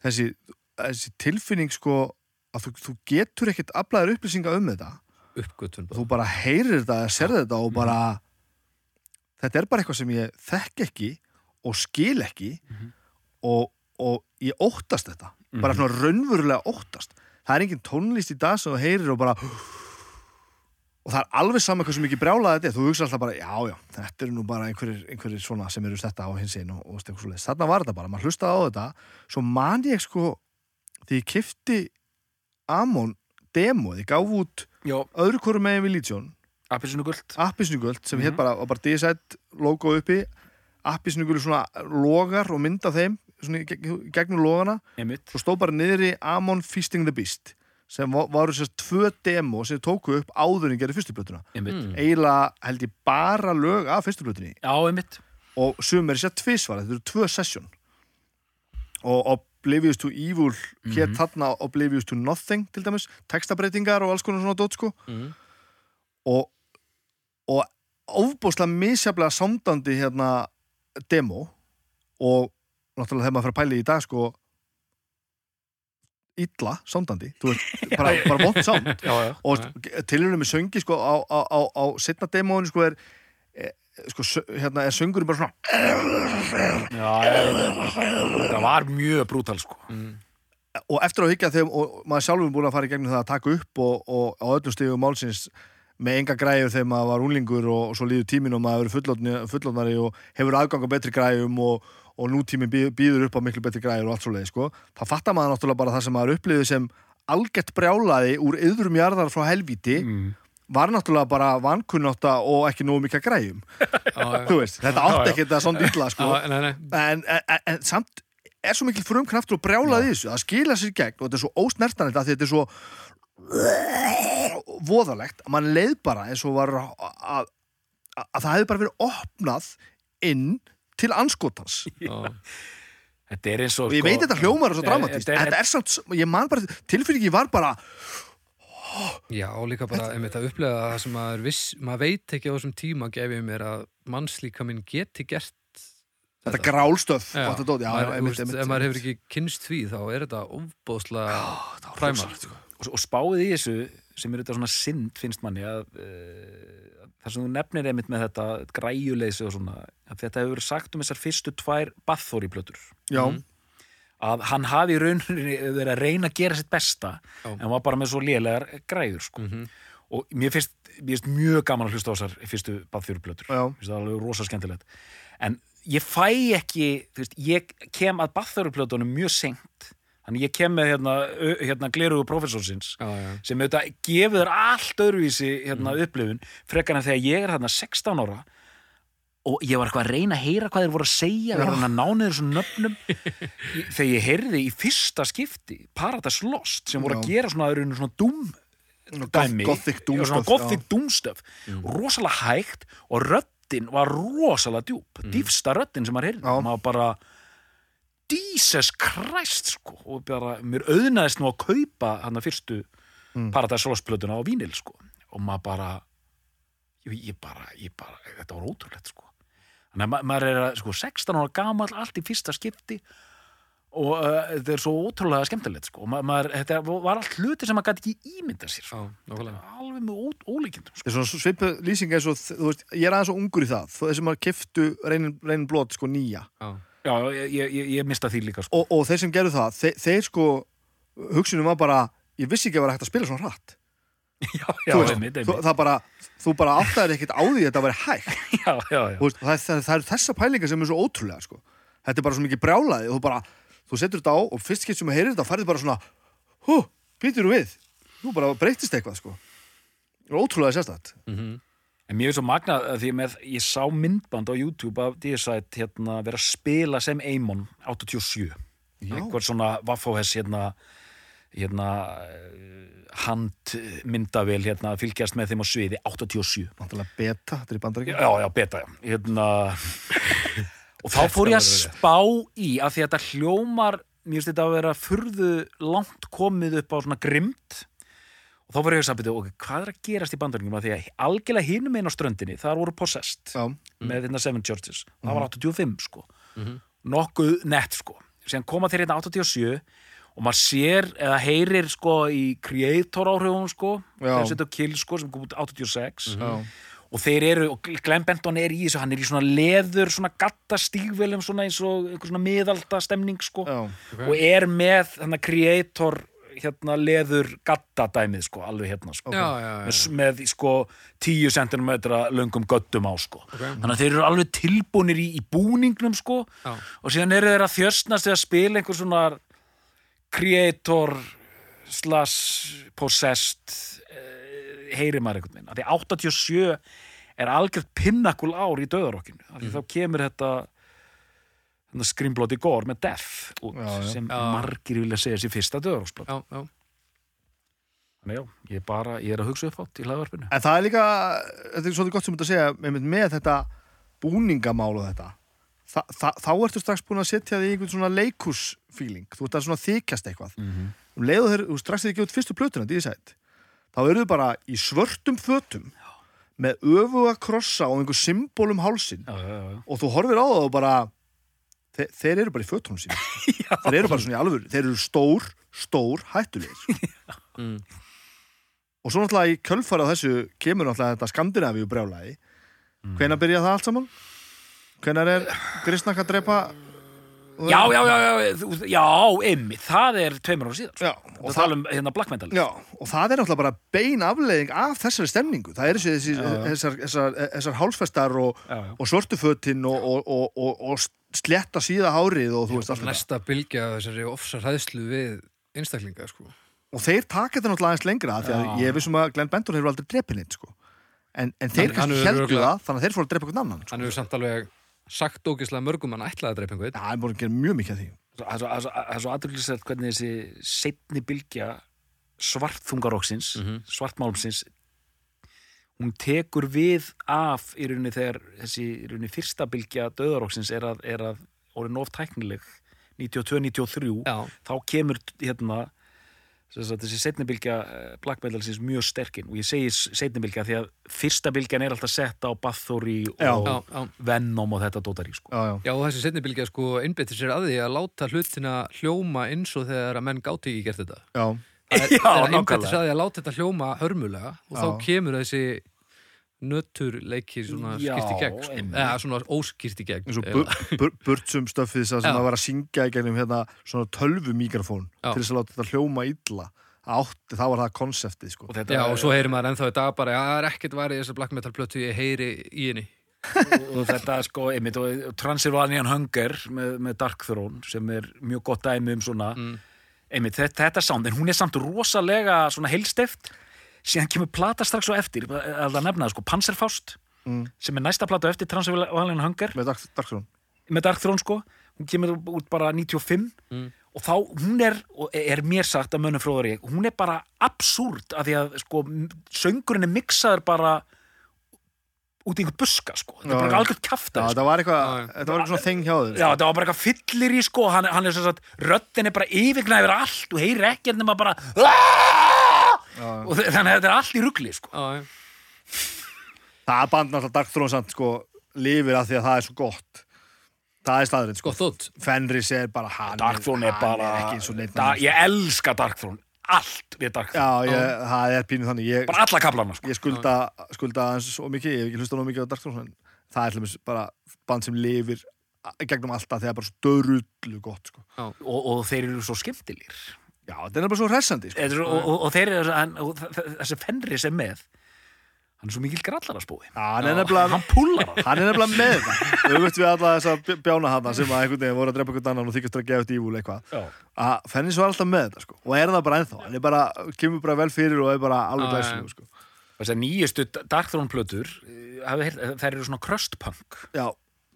Speaker 3: þessi, þessi tilfinning sko að þú, þú getur ekkert aflaðir upplýsinga um þetta
Speaker 1: uppgötun
Speaker 3: þú bara heyrir þetta eða serði þetta og bara þetta er bara eitthvað sem ég þekk ekki og skil ekki og, og ég óttast þetta bara svona raunverulega óttast það er engin tónlist í dag sem þú heyrir og bara og það er alveg sama hversu mikið brjálað þetta er þú hugsa alltaf bara, já, já, þetta eru nú bara einhverjir, einhverir svona sem eru þetta á hins einn og, og veist, eitthvað svoleiðis. þarna var þetta bara, maður hlustaði á þetta svo man ég sko því ég kifti Amon demo, ég gaf út
Speaker 2: Já,
Speaker 3: öðru hverju megin við Lítjón
Speaker 2: appisinu guld
Speaker 3: appisnugöld sem mm hér bara, var bara DZ logo uppi appisnugöld svona logar og mynd af þeim svona í geg- gegnum logana
Speaker 2: Einmitt
Speaker 3: svo stóð bara niðri Amon Feasting the Beast sem va- voru sérst tvö demo sem tóku upp áður en gerði fyrstu plötuna
Speaker 2: Einmitt
Speaker 1: Mm.
Speaker 3: eiginlega held ég bara lög af fyrstu plötunni
Speaker 2: Já, einmitt
Speaker 3: og sumir sér tvísvara, þetta eru tvö sesjón og Oblivious to Evil hér þarna Oblivious to Nothing til dæmis, textabreitingar og alls konar svona dót sko
Speaker 1: Mhm.
Speaker 3: og, og ofbúslega misjaflega samdandi hérna demo og náttúrulega þegar maður fyrir að pæla í í dag sko illa samdandi, þú veist, bara, bara vont samt
Speaker 2: Já, já
Speaker 3: og tilhörnum með söngi sko, á, á, á, á setna demóinu sko, er, er, sko, sö- hérna, er söngurinn bara svona
Speaker 2: Já, já, já. það var mjög brútal sko
Speaker 1: Mm.
Speaker 3: og eftir að higgja þegar og maður sjálfur búin að fara í gegnum það að taka upp og, og á öllum stegum málsins með enga græjur þegar maður var unlingur og, og svo líður tíminn og maður er fullotnari og hefur aðgang á betri græjum og, og nútíminn bí- býður upp á miklu betri græjur og allt svo leið sko. það fattar maður náttúrulega bara það sem maður upplifið sem algett brjálaði úr yðrum jarðar frá helvíti
Speaker 2: mm.
Speaker 3: var náttúrulega bara vankunnáta og ekki nógu mikið græjum
Speaker 1: Já, já.
Speaker 3: þú veist, þetta
Speaker 2: Já,
Speaker 3: átti
Speaker 2: já.
Speaker 3: ekki þetta svona illa sko.
Speaker 1: Já, nei, nei.
Speaker 3: en, en, en, en samt er svo mikil frumkraftur og brjálað í þessu það skila sér í gegn og þetta er svo ósnertanlegt af því þetta er svo voðalegt að mann leið bara eins og var að, að, að það hefði bara verið opnað inn til anskotans
Speaker 1: Já.
Speaker 2: Þetta er eins og
Speaker 3: og ég veit þetta hljómar er svo
Speaker 2: Nei,
Speaker 3: dramatíst
Speaker 2: þetta er-
Speaker 3: þetta er samt, ég man bara, tilfinningi var bara
Speaker 1: Já, og líka bara einmitt að upplega það sem maður, viss, maður veit ekki á þessum tíma gefið mér að mannslíka minn geti gert
Speaker 3: þetta grálstöf
Speaker 1: Já,
Speaker 3: og þetta dót, já,
Speaker 1: maður,
Speaker 3: einmitt,
Speaker 1: úst,
Speaker 3: einmitt,
Speaker 1: ef maður hefur
Speaker 3: einmitt.
Speaker 1: ekki kynst því þá er þetta ofbóðslega
Speaker 3: Það var
Speaker 1: præmar
Speaker 3: rosalegt, sko.
Speaker 2: og, og spáið í þessu sem er þetta svona synd finnst manni að uh, þar sem þú nefnir einmitt með þetta græjuleysi og svona að þetta hefur verið sagt um þessar fyrstu tvær Bathory plötur
Speaker 3: já,
Speaker 2: að hann hafi í rauninni verið að reyna að gera sitt besta
Speaker 1: Já.
Speaker 2: en var bara með svo lélegar græjur sko.
Speaker 1: Mhm.
Speaker 2: og mér finnst, mér finnst mjög gaman að hlusta á þessar fyrstu Bathory plötur
Speaker 3: Já.
Speaker 2: Mér finnst það alveg rosa skemmtilegt en ég fæ ekki, þú veist, ég kem að Bathory plötunum mjög seint þannig ég kem með hérna, ö- hérna glerugu professorsins
Speaker 1: Já, já.
Speaker 2: sem auðvitað gefur þér allt öðruvísi hérna, upplifun frekar en þegar ég er þarna 16 ára og ég var eitthvað að reyna að heyra hvað þeir voru að segja við erum að nána þessum nöfnum Ég- þegar ég heyrði í fyrsta skipti Paradise Lost sem voru að
Speaker 3: Já.
Speaker 2: gera svona, þeir eru svona dúm dæmi
Speaker 3: gothic doom
Speaker 2: Já, svona
Speaker 3: stuff,
Speaker 2: gothic dúmstöf rosalega hægt og röddin var rosalega djúb dýfsta röddin sem maður heyrði
Speaker 3: Já.
Speaker 2: maður bara Jesus Christ sko og bara, mér auðnaðist nú að kaupa hann að fyrstu Paradise Lost plötuna á vínil sko og maður bara ég, ég bara, ég bara, þetta var ótrúlegt sko þannig að ma maður er að, sko 16 ára gamall, allt í fyrsta skipti og uh, þetta er svo ótrúlega skemmtilegt sko, ma maður, þetta var allt hluti sem maður gæti ekki ímynda sér
Speaker 1: Já,
Speaker 2: sko.
Speaker 1: nákvæmlega
Speaker 2: alveg með ó- ólíkindum sko.
Speaker 3: Þetta er svona svipu lýsing eins og þ- þú veist, ég er aðeins og ungur í það þó þessi maður kiftu reynin, reynin blót sko nýja
Speaker 1: Já,
Speaker 2: já, ég, ég, ég, ég mista því líka sko.
Speaker 3: og, og þeir sem gerðu það, þeir, þeir sko hugsunum var bara, ég vissi ekki að vera hægt að spila svona hratt
Speaker 2: já, já,
Speaker 3: þú, veist,
Speaker 2: einmitt,
Speaker 3: þú,
Speaker 2: einmitt.
Speaker 3: það bara, þú bara áttaðir ekkert á því að þetta veri hægt
Speaker 2: já, já, já.
Speaker 3: Þú veist, það, það, það eru þessa pælingar sem er svo ótrúlega sko. þetta er bara svo mikið brjálaði þú, bara, þú setur þetta á og fyrst getur sem að heyrir þetta færði bara svona, hú, býtur þú við nú bara breytist eitthvað sko. ótrúlega sérstætt
Speaker 2: En mér er svo magnað að því ég, með, ég sá myndband á YouTube af DSæt hérna, vera að spila sem Eamon 87.
Speaker 3: Já.
Speaker 2: Einhver svona Vaffóhess hérna, hérna eh, handmyndavél hérna, að fylgjast með þeim á sviði 87.
Speaker 3: Vantarlega beta, þetta er í bandaríkja
Speaker 2: Já, já, beta, já. Hérna, og þá fór ég að spá í að því að þetta hljómar, mér finnst þetta að vera furðu langt komið upp á svona grimt og þá var ég að sambið ok, hvað er að gerast í bandaríkjum að því að algjörlega hinum einn á ströndinni, þar voru possessed
Speaker 3: já,
Speaker 2: með hérna Seven Churches, það var
Speaker 3: Mm. Mhm.
Speaker 2: 85 sko
Speaker 1: Mhm.
Speaker 2: nokkuð nett sko síðan koma þeir hérna 87 og maður sér eða heyrir sko í creator áhrifum sko
Speaker 3: Já.
Speaker 2: þeir setja á kill sko sem kom út 86
Speaker 3: já,
Speaker 2: og þeir eru, og Glenn Benton er í þessu hann er í svona leður, svona gatta stígvelum svona eins og einhver svona miðalda stemning sko,
Speaker 3: já,
Speaker 2: og er með hann að creator hérna leður gatta dæmið sko, alveg hérna sko,
Speaker 1: Já, já, já.
Speaker 2: Með, með sko 10 cm löngum göttum á sko,
Speaker 1: Ok.
Speaker 2: þannig að þeir eru alveg tilbúnir í, í búningnum sko
Speaker 1: Já.
Speaker 2: og síðan eru þeir að þjöstnast eða spila einhver svona creator slash possessed eh, heyri maður einhvern veginn, af því 87 er algjörð pinnakul ár í döðarokkinu, af því þá kemur þetta þetta skrimblóti gór með Death út,
Speaker 3: Já, já.
Speaker 2: sem
Speaker 1: Já.
Speaker 2: margir vilja segja sér fyrsta döðarokksplat
Speaker 1: já, já.
Speaker 2: Þannig já, ég er bara, ég er að hugsa upp átt í hlaðvarpinu
Speaker 3: en það er líka þetta er svolítið gott sem þetta segja með, með þetta búningamál og þetta Þa, þa, þá ertu strax búin að setja þig í einhvern svona leikusfíling þú ert að svona þykjast eitthvað mm -hmm. um leiðu þeir, þú strax þið ekki út fyrstu plötuna dísætt, þá eru þau bara í svörtum fötum með öfuga krossa og einhver um symbólum hálsin
Speaker 2: Já, já, já,
Speaker 3: og þú horfir á það og bara þe þeir eru bara í fötunum sín þeir eru bara svona í alvöru, þeir eru stór stór hættulegir sko.
Speaker 1: Mm.
Speaker 3: og svo náttúrulega í kjölfara á þessu kemur náttúrulega þetta skandinavíu brjálæði mm. hvenær byrja það allt saman? hvenær er grisnak að drepa
Speaker 2: já, já, já, já, þú- já emmi, það er tveimur ára síðar
Speaker 3: Já,
Speaker 2: og
Speaker 3: og það,
Speaker 2: tala um hérna Black Metal
Speaker 3: já, og það er náttúrulega bara bein afleiðing af þessari stemningu það eru þessi, þessi,
Speaker 2: Já, já.
Speaker 3: þessar, þessar, þessar hálsfestar og,
Speaker 2: já, já.
Speaker 3: og svörtufötin og, og, og, og, og sletta síða hárið og þú veist allt þetta
Speaker 1: Næsta bylgja af þessari ofsa hræðslu við einstaklinga, sko.
Speaker 3: og þeir taka þetta náttúrulega aðeins lengra af því að
Speaker 2: Já.
Speaker 3: ég er vissum að Glenn Benton hefur aldrei drepið neitt sko. en, en þeir
Speaker 1: Hann- hann
Speaker 3: kannski
Speaker 1: hefur
Speaker 3: heldur
Speaker 1: örugglega-
Speaker 3: það þannig að þeir fóru að drepa einhvern annan sko.
Speaker 1: Hann hefur samt alveg sagt ógislega mörgum að hann ætlaði að dreipa einhvern.
Speaker 3: það er búin að gera mjög mikið af því
Speaker 2: það er svo- það er svo- það er svo aðrygglistætt hvernig þessi setni bylgja svartþungaróksins mm
Speaker 1: Mhm.
Speaker 2: svartmálmsins hún tekur við af í rauninni þegar þessi í rauninni fyrsta bylgja döðaróksins er að, er að orðin of tæknileg 92-93
Speaker 1: Já,
Speaker 2: þá kemur hérna sem sagt, þessi setnibylgja Black Metal sinns mjög sterkinn og ég segi setnibylgja því að fyrsta bylgjan er alltaf sett á Bathory og
Speaker 1: já, já.
Speaker 2: Venom og þetta dótar í sko
Speaker 3: já, já.
Speaker 1: Já, og þessi setni bylgja sko innbyttir sér að því að láta hlutina hljóma eins og þegar að menn gáti ekki gert þetta.
Speaker 3: Já.
Speaker 1: Það er,
Speaker 2: Já,
Speaker 1: það er
Speaker 2: nákvæmlega.
Speaker 1: einbyttir sér að því að láta þetta hljóma hörmulega og þá
Speaker 3: Já.
Speaker 1: kemur þessi nöturleikir svona
Speaker 2: Já,
Speaker 1: skýrt í gegn, sko.
Speaker 2: einmitt.
Speaker 1: eða svona óskýrt í gegn.
Speaker 3: eins og
Speaker 1: eiginlega.
Speaker 3: bu- bu- burtsum stöffið þess að
Speaker 1: Já.
Speaker 3: það var að syngja í gegnum hérna svona tölvu mikrofón
Speaker 1: Já.
Speaker 3: til þess að láta þetta hljóma illa Það átti, þá var það konseptið sko.
Speaker 2: og þetta
Speaker 1: Já, og svo heyrir maður ennþá í dag bara, já, það er ekkert varið í þessar black metal plötu ég heyri í henni.
Speaker 2: og þetta sko, einmitt, og Transylvanian Hunger með, með Dark Throne sem er mjög gott dæmi um svona
Speaker 3: Mm.
Speaker 2: einmitt, þetta, þetta sound, en hún er samt rosalega svona heilsteft síðan kemur plata strax og eftir að það nefna það sko, Panzerfaust
Speaker 3: Mm.
Speaker 2: sem er næsta plata á eftir Transylvanian Hunger
Speaker 3: með Dark- Darkson
Speaker 2: með Dark Throne sko hún kemur út bara 95
Speaker 1: Mm.
Speaker 2: og þá, hún er, og e-, er mér sagt að mönnum fróðar ég, hún er bara absúrt af því að sko, m- söngurinn er miksaður bara út í einhvern buska sko, þetta
Speaker 3: Já,
Speaker 2: er
Speaker 3: já.
Speaker 2: bara algjörð kjaftar
Speaker 3: það var
Speaker 1: Já,
Speaker 3: eitthvað,
Speaker 1: já.
Speaker 3: þetta var eitthvað svona þeng hjá sko. þeir
Speaker 2: Já, það var bara eitthvað fyllir í sko hann, hann er sem sagt, röddin er bara yfirgnað yfir allt og heyri ekkert nema bara og þe- þannig að þetta er allt í rugli sko
Speaker 1: Já, já.
Speaker 3: það er band náttúrulega Dark Throne samt sko, lifir af því að það er svo gott það er staðurinn sko.
Speaker 1: Gott þótt.
Speaker 3: Fenris er bara hann
Speaker 2: Dark Throne er
Speaker 3: hann
Speaker 2: bara
Speaker 3: ekki eins og neitt
Speaker 2: da,
Speaker 3: annars.
Speaker 2: Ég elska Dark Throne, allt við Dark Throne,
Speaker 3: Já, ég, það er pínu þannig Ég,
Speaker 2: bara alla kaplana sko
Speaker 3: ég skulda, skulda aðeins svo mikið Ég hef ekki hlusta nóg mikið á Dark Throne en Það er hlumis bara band sem lifir a- gegnum alltaf þegar bara svo dörullu gott sko.
Speaker 2: og, og þeir eru svo skemmtilir
Speaker 3: Já, þetta er bara svo hressandi sko.
Speaker 2: Þetta er, og, og, og þeir eru hann, og þ- þ- þessi Fenris er með hann er svo mikil grallar að spói
Speaker 3: Já, hann er nefnilega
Speaker 2: hann púlar hann
Speaker 3: Hann er nefnilega með það Þú veist við alla þessa bj- bjána hana sem að einhvern veginn voru að drepa einhvern annan og þykist að gefa út ívúl eitthvað
Speaker 2: Já.
Speaker 3: að Fennis var alltaf með þetta sko. og er það bara ennþá, hann er bara, kemur bara vel fyrir og er bara alveg
Speaker 1: Já, já, já.
Speaker 3: glæsileg sko.
Speaker 2: Þessar nýjustu Dark Throne plötur eh, hafið heyrt- þær eru svona crust punk
Speaker 3: Já,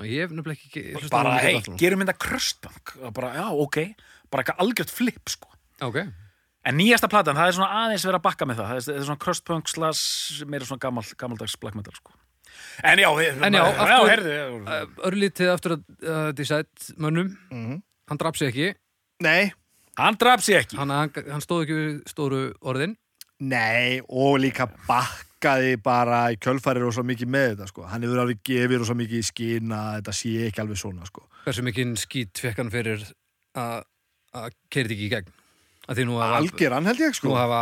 Speaker 1: Ég hef nefnilega ekki hlustað á
Speaker 2: bara,
Speaker 1: mikið
Speaker 2: hei,
Speaker 1: Dark Throne.
Speaker 2: gerum þetta kröstbank og bara, já, ok, bara eitthvað algjört flip sko.
Speaker 1: Ok.
Speaker 2: en nýjasta platan, það er svona aðeins verið að bakka með það það er, það er svona kröstbank slas meira svona gammal, gammaldags black metal sko. en já, við-
Speaker 1: En já,
Speaker 2: maður-
Speaker 1: aftur-
Speaker 2: heyrðu,
Speaker 1: Uh, örlítið aftur að uh, Decide mönnum, hann draf sig ekki
Speaker 3: nei,
Speaker 2: hann draf sér ekki
Speaker 1: hann, hann, hann stóð ekki við stóru orðin
Speaker 3: Nei, og líka bakkaði bara í kjölfæri rosa mikið með þetta, sko. Hann hefur alveg gefið rosa mikið í skýna, þetta sé ekki alveg svona, sko.
Speaker 1: Hversu mikinn skýt fekk hann fyrir að keiri ekki í gegn? Að því nú hafa,
Speaker 3: Algeran held ég,
Speaker 1: nú
Speaker 3: sko.
Speaker 1: hafa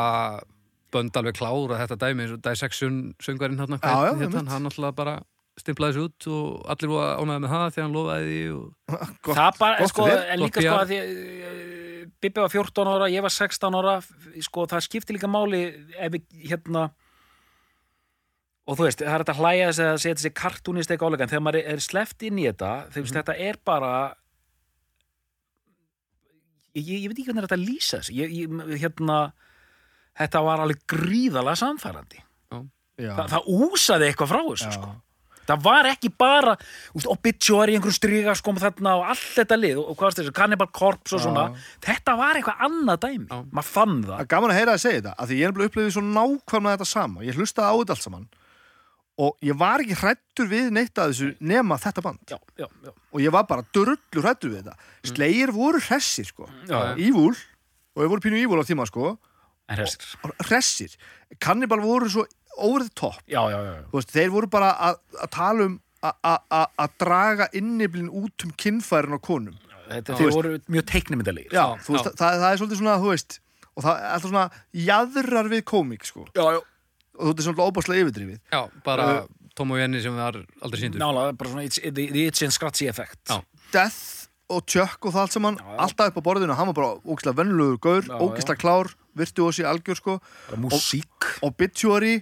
Speaker 1: bönd alveg klára þetta dæmi eins og dissection söngarinn hann,
Speaker 3: Já, já,
Speaker 1: hann,
Speaker 3: einmitt.
Speaker 1: Hérna, hann alltaf bara stimplaði sér út og allir voru ánæði með það því hann lofaði því og
Speaker 3: Gott-
Speaker 2: það bara,
Speaker 3: gott
Speaker 2: sko,
Speaker 3: vel,
Speaker 2: en
Speaker 1: gott
Speaker 2: líka sko
Speaker 1: PR.
Speaker 2: að því eh, Bibbi var 14 ára, ég var 16 ára sko, það skipti líka máli ef við, hérna og þú veist, það er þetta að hlæja þess að setja þessi kartúnist eitthvað álega, en þegar maður er sleppt inn í þetta, þegar mm. þetta er bara ég, ég, ég veit ekki hvernig er þetta að lýsa þessu ég, ég, hérna þetta var alveg gríðalega samfærandi
Speaker 3: Já,
Speaker 2: Þa, það úsaði eitthvað frá þessu,
Speaker 3: já.
Speaker 2: sko Það var ekki bara úst, obituary einhverjum strygaskóm þarna og allt þetta lið og, og hvað varst þessu, Cannibal Corpse og
Speaker 3: Já.
Speaker 2: svona Þetta var eitthvað annað dæmi,
Speaker 1: Já.
Speaker 2: maður fann
Speaker 3: Það
Speaker 2: það
Speaker 3: er gaman að heyra að segja þetta, af því ég er nefnilega upplifið svo nákvæmlega þetta sama. Ég hlustaði á þetta allt saman og ég var ekki hrættur við neitt að þessu nema þetta band.
Speaker 2: Já, já, já,
Speaker 3: og ég var bara dörullu hrættur við þetta. Slegir voru hressir, sko.
Speaker 2: Mm. Já, já.
Speaker 3: Ívúl, og ég voru pínu ívúl á tíma, sko.
Speaker 2: en hressir
Speaker 3: Hressir. Kannibal voru svo over the top.
Speaker 2: Já, já, já, já,
Speaker 3: Þú Veist, þeir voru bara að að tala um a- a- a- að draga inniblinn út um kinnfærin á konum.
Speaker 2: þetta
Speaker 3: Þú
Speaker 2: þeir
Speaker 3: veist-
Speaker 2: voru mjög teiknumyndalegir
Speaker 3: Já, þú veist,
Speaker 1: já.
Speaker 3: Það, það er svolítið svona, þú veist, og það er alltaf svona jaðrar við komik, sko.
Speaker 2: já, já
Speaker 3: Og þú veist, svona óbáslega yfirdrifið.
Speaker 1: Já, bara
Speaker 3: Uh,
Speaker 1: Tom og Jenny sem var aldrei síndur
Speaker 2: Nála, bara svona it's, the, the itch and scratchy effect
Speaker 1: Já.
Speaker 3: Death og Chuck og það allt saman,
Speaker 2: já.
Speaker 3: alltaf upp á borðinu, hann var bara ógislega vennlugur gaur,
Speaker 2: Já, já.
Speaker 3: ógislega klár, virtu og algjör, sko.
Speaker 2: Bara Músík
Speaker 3: obituary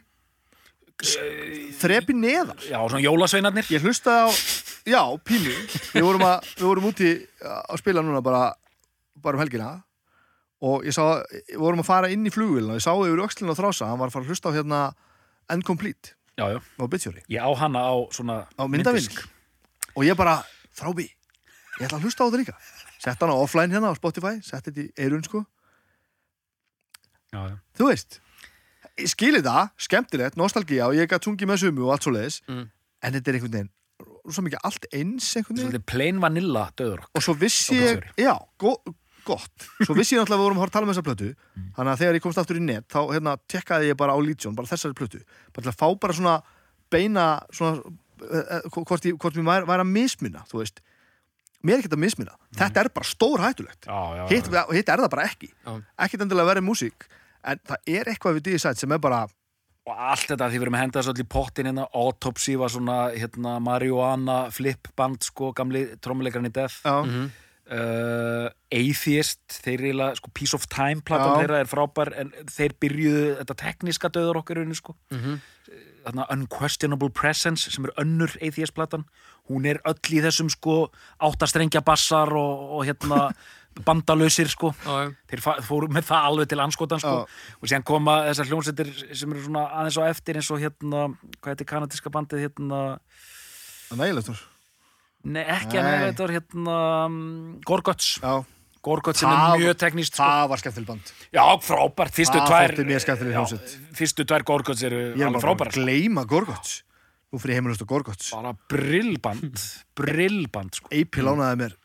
Speaker 2: Eh,
Speaker 3: þrepi neðar
Speaker 2: Já, svona jólasveinarnir
Speaker 3: ég hlustaði á, já, pínu við vorum, að, við vorum úti að spila núna bara, bara um helgina og ég sá, við vorum að fara inn í flugvélina og ég sá yfir öxlinu á þrása hann var að fara að hlusta á hérna Uncomplete
Speaker 2: Já, já,
Speaker 3: með obituary,
Speaker 2: ég á hana á svona
Speaker 3: á myndavinning og ég bara, þrábi ég ætla að hlusta á það líka sett hann á offline hérna á Spotify, sett þetta í eirun sko
Speaker 2: Já, já
Speaker 3: þú veist ég skili það, skemmtilegt, nostalgía og ég gæt tungi með sumu og allt svo leiðis
Speaker 1: Mm.
Speaker 3: en þetta er einhvern veginn svo mikið allt eins einhvern veginn
Speaker 2: Svolítið plain vanilla döður
Speaker 3: og svo vissi
Speaker 2: Ok,
Speaker 3: ég, já, go, gott svo vissi ég náttúrulega að við vorum að tala um þessa plötu
Speaker 2: Mm.
Speaker 3: þannig að þegar ég komst aftur í net þá hérna, tekkaði ég bara á Legion, bara þessari plötu bara til að fá bara svona beina svona, eh, eh, hvort, ég, hvort mér væri- væri að mismuna, þú veist mér er ekkert að mismuna, þetta er bara stór hættulegt
Speaker 2: Mm. Já, já, já,
Speaker 3: hitt, hitt er það bara ekki
Speaker 1: Já.
Speaker 3: ekkert endilega verið músík en það er eitthvað við D-Side sem er bara
Speaker 2: og allt þetta því við erum að henda þessu allir í pottin hérna, Autopsy var svona hérna, marihuana flip band sko, gamli trommuleikarinn í Death
Speaker 3: já,
Speaker 2: uh, Atheist, þeir reyla sko, Piece of Time platan
Speaker 3: Já.
Speaker 2: þeirra er frábær en þeir byrjuðu þetta tekniska döður okkar unni sko
Speaker 3: Mhm.
Speaker 2: Þarna Unquestionable Presence sem er önnur Atheist platan, hún er öll í þessum sko áttastrengja bassar og, og hérna bandalausir sko
Speaker 1: Já, já.
Speaker 2: þeir fa- fóru með það alveg til anskotan sko.
Speaker 3: Já.
Speaker 2: og síðan koma þessar hljómsveitir sem eru svona aðeins á eftir eins og hérna hvað heitir kanadíska bandið hérna
Speaker 3: nægilegt úr
Speaker 2: nei ekki
Speaker 3: Nei.
Speaker 2: að þetta var hérna um, Gorguts
Speaker 3: já,
Speaker 2: Gorguts sem
Speaker 3: Það-
Speaker 2: er mjög tekníst sko.
Speaker 3: það var skemmtileg band
Speaker 2: já frábært fyrstu
Speaker 3: Það
Speaker 2: tvær
Speaker 3: þótti mjög skemmtileg
Speaker 2: já,
Speaker 3: hljómsveit.
Speaker 2: fyrstu tvær Gorguts eru
Speaker 3: ég er
Speaker 2: alveg
Speaker 3: bara að
Speaker 2: frábært sko.
Speaker 3: gleyma Gorgots nú fyrir heimilust og Gorgots
Speaker 2: bara brillband brillband sko.
Speaker 3: Eipi lánaði mér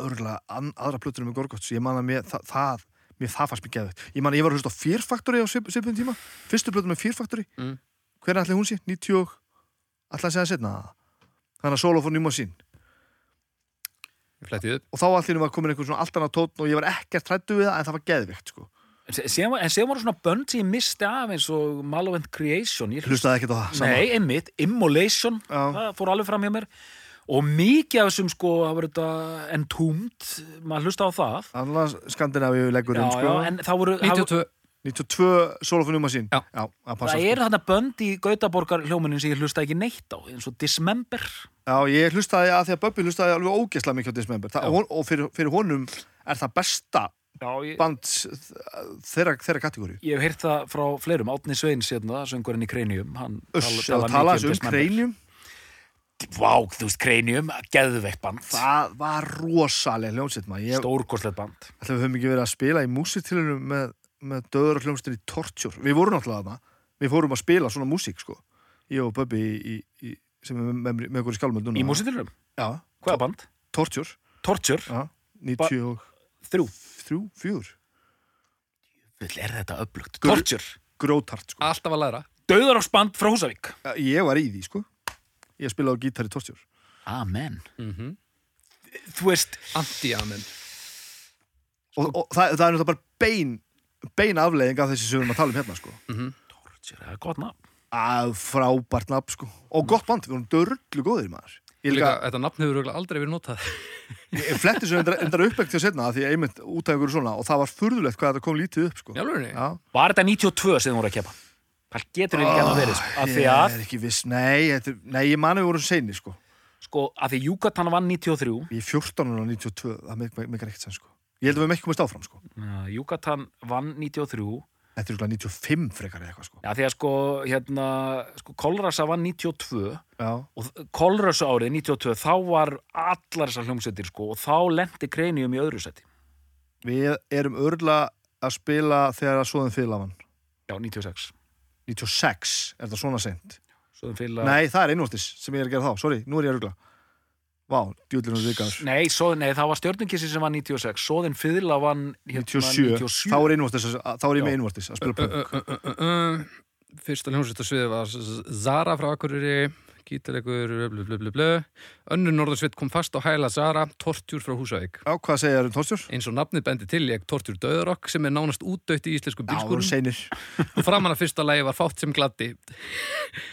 Speaker 3: örgulega aðra plötunum með Gorgots ég man að mér það, það mér það fannst mér geðvægt ég man að ég var að hlusta á Fear Factory á svip- svipuðum tíma fyrstu plötunum með Fear Factory
Speaker 1: Mm.
Speaker 3: hver er allir hún sé? 90 og- ætlaði að segja það setna þannig að Solo for Numa sín
Speaker 1: Flettið upp
Speaker 3: og þá allir var komin einhver svona allt annað tótn og ég var ekkert hrættu við það en það var geðvægt sko.
Speaker 2: en sé- síðan var- en síðan voru svona bönd sem ég misti af eins og Malovent Creation ég
Speaker 3: hlustaði ekkert á það sama.
Speaker 2: Nei, einmitt, Immolation
Speaker 3: Já.
Speaker 2: það fór alveg fram hjá mér og mikið af þessum sko það var þetta entúmt, maður hlusta á það
Speaker 3: Annars Skandinavíu leggur
Speaker 2: já,
Speaker 3: inn, sko.
Speaker 2: já, en það voru það, voru-
Speaker 1: 92
Speaker 3: 92 solofunum að sín.
Speaker 1: Já.
Speaker 3: já það passa.
Speaker 2: það
Speaker 3: sko.
Speaker 2: eru þarna bönd í Gautaborgar hljómunin sem ég hlusta ekki neitt á eins og Dismember
Speaker 3: Já, ég hlustaði að því að Böbbi hlustaði alveg ógeðslega mikið á Dismember. Það, hon, og fyrir, fyrir honum er það besta
Speaker 2: já, ég,
Speaker 3: band þeirra, þeirra kategóri.
Speaker 2: ég hef heyrt það frá fleirum Átni Sveins, hérna, söngurinn í Krenium hann
Speaker 3: Uss,
Speaker 2: talar
Speaker 3: það talaði
Speaker 2: mikið
Speaker 3: um
Speaker 2: Dismember.
Speaker 3: kreinjum.
Speaker 2: Vá, þú veist, Krenium, geðveitt band
Speaker 3: Það var rosalega hljómsveit maður. Ég
Speaker 2: stórkoslegt band
Speaker 3: ætla við höfum ekki verið að spila í músitilunum með, með döður og hljómsveitin í Torture. Við vorum náttúrulega þarna. Við fórum að spila svona músík, sko. Ég og Böbbi í, í, í, sem er með, með, með okkur í skálmöld núna.
Speaker 2: í músitilurum,
Speaker 3: Já,
Speaker 2: hvaða band?
Speaker 3: Torture.
Speaker 2: Torture,
Speaker 3: Já, 93,
Speaker 2: þrjú
Speaker 3: 4.
Speaker 2: djöfull er þetta öflugt
Speaker 3: Gur-
Speaker 2: Torture,
Speaker 3: grótart sko.
Speaker 1: alltaf að læra
Speaker 2: döðarásband frá Húsavík
Speaker 3: Ja, Ég var í því sko Ég spilaði á gítar í tortjór
Speaker 2: Amen
Speaker 1: Mhm.
Speaker 2: Þú veist,
Speaker 1: anti-amen
Speaker 2: Sko-
Speaker 3: og, og það, það er náttúrulega bara bein bein afleiðing af þessi sem við erum að tala um hérna sko.
Speaker 2: Torture, það er gott nafn
Speaker 3: að frábært nafn sko. og gott band, við vorum dörrlu góðir maður
Speaker 1: Líka,
Speaker 3: ég líka,
Speaker 1: þetta nafn hefur örugglega aldrei verið notað
Speaker 3: ég fletti sem endar, endar uppbækt til setna af því að einmitt út af ykkur svona og það var furðulegt hvað þetta kom lítið upp sko.
Speaker 1: í alvörunni?
Speaker 3: Já.
Speaker 2: Var þetta 92 sem þú voru að kepa? Það getur ekki annað verið, sko, af því
Speaker 3: Ah, ég
Speaker 2: að
Speaker 3: er ekki viss, nei, þetta, er- nei ég mani við vorum seinir sko.
Speaker 2: sko, af því Júkatan vann 93
Speaker 3: ég er 14 og 92, það meikar meik, meik ekkert sem sko. ég held að við hefum ekki komist áfram sko.
Speaker 2: uh, Júkatan vann 93
Speaker 3: þetta er örugglega 95 frekar eða eitthvað sko.
Speaker 2: Já, því að sko, hérna, sko, Kolrasa var 92
Speaker 3: já,
Speaker 2: og Kolrasa árið 92, þá var allar þessar hljómsveitir, sko, og þá lendi Krenium í öðru seti.
Speaker 3: við erum örla að spila þegar að svoðum fyrirlafann
Speaker 2: Já, 96.
Speaker 3: 96, er það svona seint
Speaker 2: Svoðum fylg
Speaker 3: Nei, það er einvortis sem ég er að gera þá, sorry, nú er ég að rugla Vá, djúllinu vikaður
Speaker 2: Nei, svo, nei, það var stjörnungissi sem var 96 Sóðin fyrla vann hérna,
Speaker 3: 97,
Speaker 2: 97.
Speaker 3: þá er einvortis þá er ég með
Speaker 2: Já.
Speaker 3: einvortis að spila
Speaker 1: Ö,
Speaker 3: punk
Speaker 1: ö, ö, ö, ö, ö. Fyrsta hljómsveitasvið var Zara frá Akureyri, gítarleikur, blö, blö, blö, blö. Önnur norðarsveit kom fast á hæla Zara, tortjúr frá Húsavík.
Speaker 3: Já, hvað segja þér um Torstjór?
Speaker 1: Eins og nafnið bendi til ég tortjúr döðrokk sem er nánast útdautt í íslensku
Speaker 3: Já, hún
Speaker 1: bílskurum
Speaker 3: seinir
Speaker 1: og framan að fyrsta lagi var fátt sem gladdi.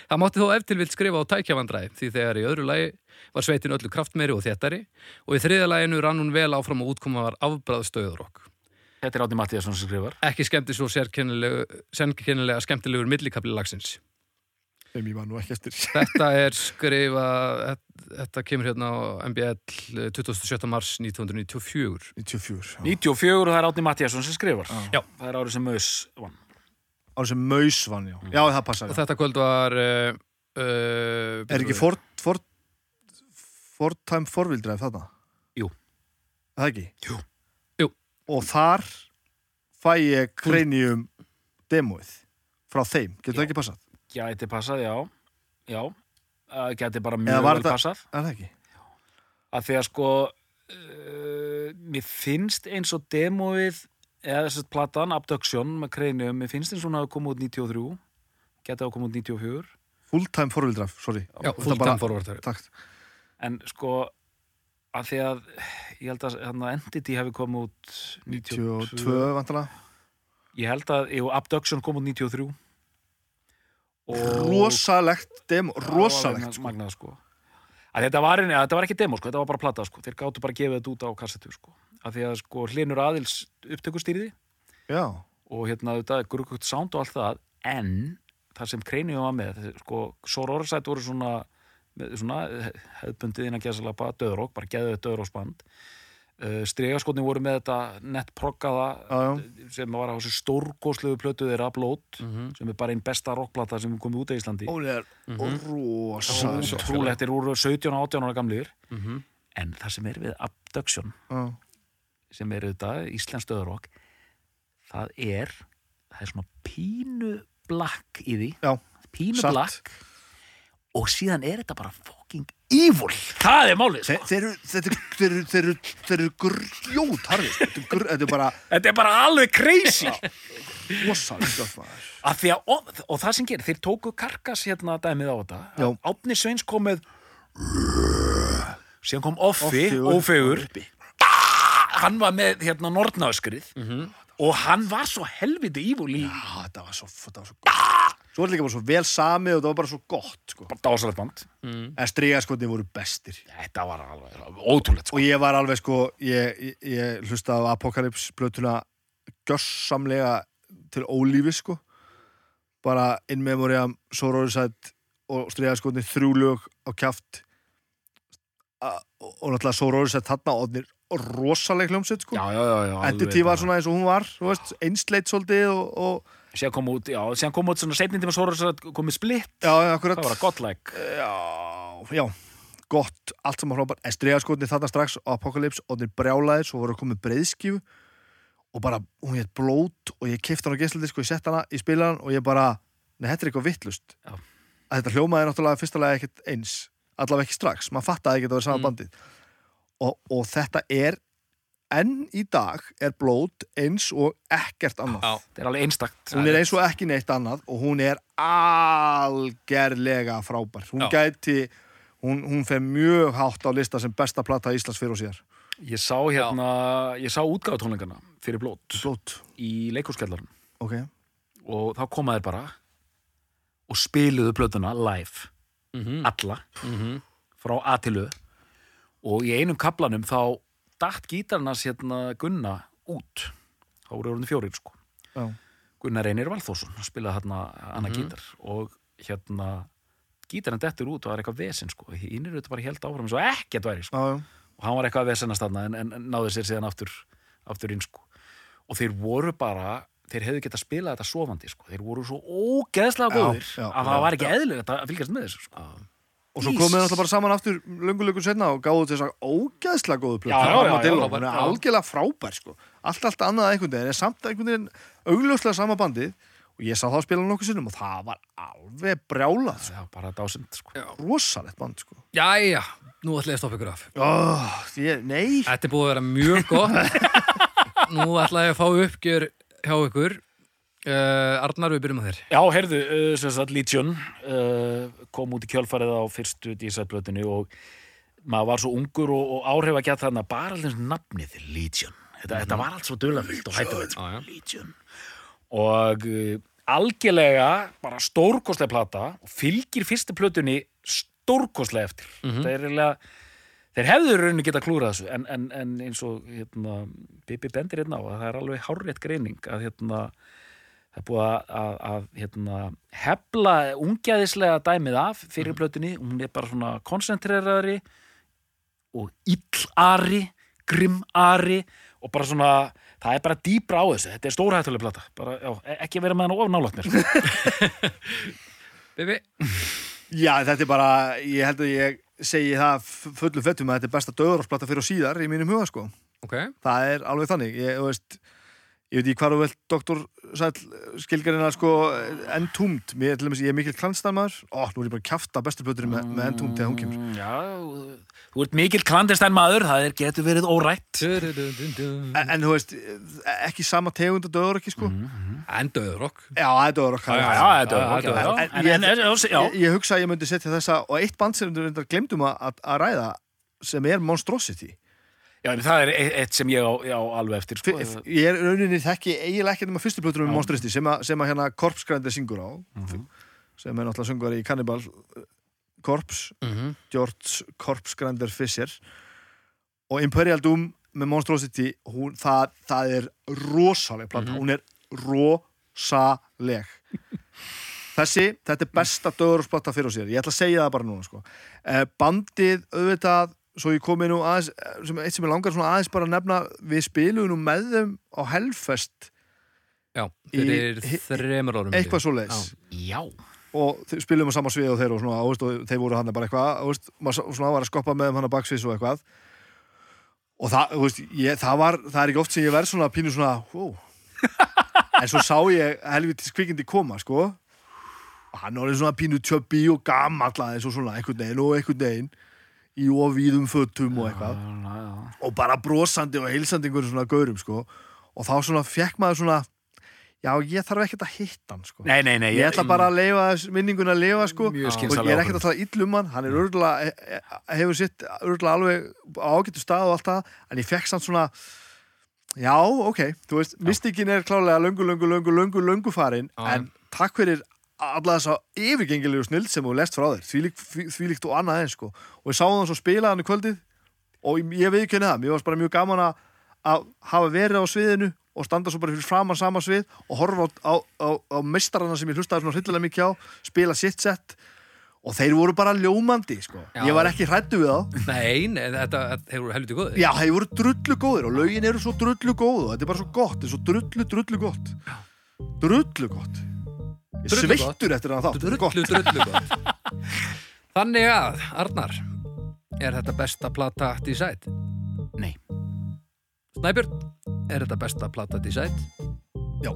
Speaker 1: Það mátti þó eftir vilt skrifa á tækjavandræði því þegar í öðru lagi var sveitin öllu kraftmeiri og þéttari og í þriðja laginu rann hún vel áfram og útkoma var afbræðstöðurokk.
Speaker 2: Þetta er Átni Mattíasson sem skrifar
Speaker 1: Ekki skemmti svo sérkennilega, sérkennilega skemmtilegur millikabli lagsins.
Speaker 3: Sem ég var nú ekki eftir
Speaker 1: Þetta er skrifa, þetta kemur hérna á MBL 27. mars 1994.
Speaker 3: 94, já.
Speaker 2: 94 og það er Átni Mattíasson sem skrifar
Speaker 1: Já.
Speaker 2: Það er árið sem Möss vann
Speaker 3: Ára sem maus vann, já Já, það passar,
Speaker 1: Og
Speaker 3: já
Speaker 1: þetta kvöld var... Uh, uh,
Speaker 3: Er ekki Ford, Ford Ford Time Forwheel Drive þarna?
Speaker 2: Jú.
Speaker 3: Er Það ekki?
Speaker 2: Jú.
Speaker 1: Jú.
Speaker 3: Og þar fæ ég kreinjum demóið frá þeim, getur það ekki passað?
Speaker 2: Gæti passað, já Já, uh, gæti bara mjög
Speaker 3: Eða var
Speaker 2: vel
Speaker 3: þetta-
Speaker 2: passað
Speaker 3: Er það ekki?
Speaker 2: að því að sko uh, mér finnst eins og demóið eða þess að platan, Abduction með Krenium, mér finnst eins og hún hafa komið út 93 gæti hafa komið út 94
Speaker 3: Full time forvildræf, sorry
Speaker 1: Já,
Speaker 3: Þetta
Speaker 1: fulltime
Speaker 3: bara-
Speaker 1: forvartar.
Speaker 3: Takk
Speaker 2: en sko að því að ég held að hérna, Entity hefði komið út
Speaker 3: 22 vantala
Speaker 2: ég held að jú, Abduction kom út 93 og
Speaker 3: Rosalegt demo,
Speaker 2: Það var
Speaker 3: rosalegt
Speaker 2: magnað- magnað sko að þetta var, að þetta var ekki demo sko, þetta var bara plata sko þeir gáttu bara að gefa þetta út á kassetu sko að því að sko hlinur aðils upptökustýriði
Speaker 3: Já,
Speaker 2: og hérna þetta gruggugt sound og allt það en það sem kreinum var með þessi, sko, Sororsætt voru svona, með svona eh, hefðbundið innan gæðsalapa döðrók, bara geðuðið döðróksband uh, stregaskotni voru með þetta nettproggaða
Speaker 3: já, Ah, já Mhm.
Speaker 2: sem var á þessu stórgóðslegu plötu þeirra upload sem er bara einn besta rockplata sem er komið út af Íslandi
Speaker 3: Hún er
Speaker 2: Mhm.
Speaker 3: rosalegt
Speaker 2: ótrúlegt er úr 17 og 18 ára gamlir
Speaker 3: Mhm.
Speaker 2: en það sem er við Abduction
Speaker 3: Já.
Speaker 2: sem er auðvitað Íslands döðarokk það er það er svona pínu blakk í því
Speaker 3: Já,
Speaker 2: pínu
Speaker 3: satt.
Speaker 2: blakk og síðan er þetta bara fucking evil það er málið
Speaker 3: Þe-
Speaker 2: sko.
Speaker 3: Þeir eru, þetta eru- þeir eru, þeir eru, þeir eru grjót harfið Þetta er gr- þetta er bara
Speaker 2: þetta er bara alveg crazy
Speaker 3: rosalegt stöf maður
Speaker 2: Af því að, og, og það sem gerir, þeir tóku karkas hérna dæmið á
Speaker 3: Já.
Speaker 2: þetta Átni Sveins kom með síðan kom Offi,
Speaker 3: Offigur.
Speaker 2: Ófegur hann var með hérna Nortnaöskrið og hann var svo helviti ívúl í
Speaker 3: Mhm. Já, þetta Ah, var svo, þetta var svo gott Ah! Svo var líka bara svo vel samið og þetta var bara svo gott sko.
Speaker 2: dásalegt band
Speaker 3: En strígaskotni voru bestir
Speaker 2: þetta var alveg ótrúlegt sko.
Speaker 3: Og ég var alveg sko, ég, ég, ég hlustaði á Apocalypse blötuna gjössamlega til ólífi sko. Bara in memoriam, Sororisætt og stríðaskotni þrjú lög á kjaft A- og og náttúrulega Sororisætt þarna og odnir rosaleg hljómsett sko.
Speaker 2: já, já, já, já, alveg
Speaker 3: Entity var
Speaker 2: bara-
Speaker 3: svona eins og hún var, þú veist, einsleit svolítið og, og
Speaker 2: síðan kom út, já, síðan kom út svona setnindi með Sóra komið splitt,
Speaker 3: já, já, akkurat.
Speaker 2: það var að gottlæk
Speaker 3: Já, já, gott, allt saman frábært En stregaskotni þarna strax á Apocalypse og þeir brjálaðir, svo voru að koma með breiðskífu og bara, hún hétt blót og ég kefti hann á geisladisk og ég sett hana í spilaran og ég bara, nei, þetta er eitthvað vittlust
Speaker 2: Já.
Speaker 3: að þetta hljómaði náttúrulega fyrstulega ekkert eins
Speaker 2: Mm.
Speaker 3: allavega ekki strax, maður fattaði ekki að þetta var sama
Speaker 1: Mm.
Speaker 3: bandið og, og þetta er enn í dag er blót eins og ekkert annað
Speaker 1: Já.
Speaker 2: þetta er alveg einstakt
Speaker 3: hún er eins og ekki neitt annað og hún er algerlega frábær hún
Speaker 1: Já.
Speaker 3: gæti hún, hún fer mjög hátt á lista sem besta plata Íslands fyrir og síðar
Speaker 2: ég sá hérna, ég sá útgáðutónleikana fyrir blót
Speaker 3: blót,
Speaker 2: í leikúskellarum
Speaker 3: ok
Speaker 2: og þá koma þeir bara og spiluðu plötuna live alla frá A til U og í einum kaplanum þá datt gítarnas hérna Gunna út þá voru orðin fjórir sko
Speaker 3: já,
Speaker 2: Gunnar Reynir Valþórsson spilaði hérna annað gítar og hérna gítarinn dettur út og það er eitthvað vesinn sko hínir auðvitað bara held áfram eins og ekkert væri sko
Speaker 3: já, já,
Speaker 2: og hann var eitthvað að vesennast þarna en, en náði sér síðan aftur, aftur inn sko. og þeir voru bara þeir hefðu getað spilað þetta sofandi sko. þeir voru svo ógeðslega
Speaker 3: Já,
Speaker 2: góðir
Speaker 3: já,
Speaker 2: að
Speaker 3: já,
Speaker 2: það var ekki eðlilegt að fylgjast með þessu sko.
Speaker 3: og svo
Speaker 2: Jesus.
Speaker 3: komið náttúrulega bara saman aftur löngu löngu setna og gáðu þess að ógæðslega góðu plötu
Speaker 2: Já, já, já,
Speaker 3: Armadillo,
Speaker 2: já,
Speaker 3: hún
Speaker 1: já.
Speaker 3: er algjörlega frábær sko. allt, allt annað einhvern veginn en samt einhvern veginn augljóslega sama bandið og ég sá það að spila nokkuð sinnum og það var alveg brjálað sko.
Speaker 2: já, bara dásind sko.
Speaker 3: rosalegt band sko.
Speaker 1: Jæja, nú ætla ég að stoppa ykkur af
Speaker 3: oh, ég, nei,
Speaker 1: Þetta er búið að vera mjög gott Nú ætla ég að fá uppgjör hjá ykkur uh, Arnar, við byrjum á þér
Speaker 2: já, heyrðu, uh, sem sagt Legion uh, kom út í kjölfarið á fyrstu dísætblötinu og maður var svo ungur og, og áhrif að geta þarna bara allir nafnið Legion þetta, þetta var allt svo dulafyllt og hættuveit
Speaker 1: Mhm. Já, já.
Speaker 2: Legion og uh, algjörlega bara stórkostlega plata og fylgir fyrstu plötunni stórkostlega eftir
Speaker 1: Mhm.
Speaker 2: það er eiginlega þeir hefðu í rauninni geta klúrað þessu en, en, en eins og hérna, Bibi bendir hérna á að það er alveg hárrétt greining að hérna það er búið að, að, að hérna, hefla ungjæðislega dæmið af fyrir plötunni hún er bara svona koncentreraðri og illari grimmari og bara svona, það er bara dýbra á þessu þetta er stórhættulega plata, bara, já, e- ekki vera með hana of nálægt mér
Speaker 1: Bibi,
Speaker 3: já, þetta er bara ég held að ég segi það f- fullum fettum að þetta er besta döðurársplata fyrir og síðar í mínum huga sko.
Speaker 1: ok
Speaker 3: það er alveg þannig ég, þú veist, ég veit ekki hvað þú velt doktor Sæll skilgarina sko entúmt, mér til dæmis, ég er mikill klanstæmar ó, nú er ég bara að kjafta bestu plöturinn með, með entúmt þegar hún kemur
Speaker 2: Mm, já, þú ert mikill klandestæn maður það er getur verið órætt
Speaker 1: Enda
Speaker 3: en, en þú veist, ekki sama tegund og döður ekki sko,
Speaker 1: öðurokk
Speaker 3: já, það er döður okkar
Speaker 1: Mhm. Já, já,
Speaker 2: þetta
Speaker 1: já,
Speaker 2: var
Speaker 1: þetta var-
Speaker 2: ok,
Speaker 3: En
Speaker 2: já.
Speaker 3: ég-
Speaker 2: en en- já, já,
Speaker 3: ég, ég hugsa að ég myndi setja þessa og eitt band sem við glemdum að, að- að ræða sem er Monstrosity
Speaker 2: já, en það er e- eitt sem ég á, ég á alveg eftir
Speaker 3: F
Speaker 2: sko.
Speaker 3: ég er rauninni þekki eiginlega ekkert um að fyrstu plötunum með Monstrosity sem, að- sem að hérna Korpsgrændi syngur á sem er náttúrulega söngur í Cannibal uh, Korps George Korpsgrander Fisher og Imperial Doom með Monstrosity hún, það, það er rosaleg planta, hún er rosaleg þessi, þetta er besta döðursplata fyrir og sér, ég ætla að segja það bara núna sko. Eh, bandið auðvitað svo ég komið nú aðeins eh, sem, eitt sem ég langar svona aðeins bara að nefna við spilum nú með þeim á Hellfest
Speaker 1: Já, fyrir
Speaker 3: Í-
Speaker 1: þremur árum
Speaker 3: eitthvað svoleiðis
Speaker 2: já,
Speaker 3: og þau- spilum á sama svið og þeir og svona, ást, og þeir voru hann bara eitthvað ást, maður sá- svona var að skoppa með þeim hann að baksviðs og eitthvað og það, þú veist, ég, það var það er ekki oft sem ég verð svona pínu svona wow. en svo sá ég helvitis kvikindi koma, sko og hann orðið svona pínu tjöbbi og gamall aðeins og svona einhvern veginn og einhvern veginn í ofvíðum fötum og eitthvað
Speaker 2: já, já.
Speaker 3: og bara brosandi og heilsandi einhverjum svona gaurum, sko og þá svona fekk maður svona já, ég þarf ekkert að hitta hann, sko
Speaker 2: nei, nei, nei
Speaker 3: ég ætla bara að leifa þess- minningunni að leifa sko
Speaker 2: Mjög
Speaker 3: og
Speaker 2: skynsamlega
Speaker 3: ég er ekkert að tala ill um hann hann er örgulega, hefur sitt örgulega alveg ágættu stað og allt það en ég fekk samt svona já, ok, þú veist, mystikinn er klálega löngu, löngu, löngu, löngu, löngu farin
Speaker 1: Já.
Speaker 3: en takk fyrir alla þessa yfirgengilegu snild sem þú lest frá þér þvílíkt því, því og annað eins sko og ég sá hann svo spila hann í kvöldið og ég, ég viðkynni það, mér varst bara mjög gaman að að hafa verið á sviðinu og standa svo bara fyrir framan sama svið og horfa á, á, á, á mestarana sem ég hlustaði svona hryllilega mikið á, spila sitt sett og þeir voru bara ljómandi sko.
Speaker 1: Já.
Speaker 3: ég var ekki hrættu við þá
Speaker 1: Nei, nei, þetta þetta hefur helviti góði
Speaker 3: já, þeir voru drullu góðir og lögin eru svo drullu góð og þetta er bara svo gott, þetta er svo drullu, drullu gott drullu gott ég
Speaker 1: Drullu gott.
Speaker 3: sveittur eftir hann þátt þetta er gott.
Speaker 1: Drullu, drullu gott Þannig að, Arnar Er þetta besta plata Decide?
Speaker 2: Nei.
Speaker 1: Snæbjörn, er þetta besta plata Decide?
Speaker 3: Já.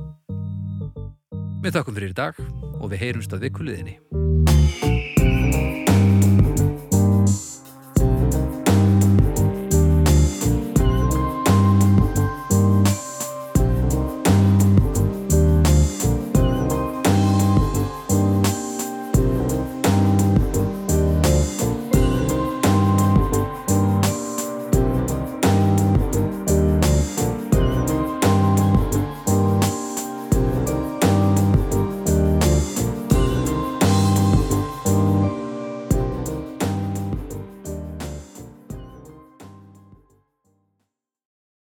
Speaker 1: Við þakkum fyrir í dag og við heyrumst að vikuliðinni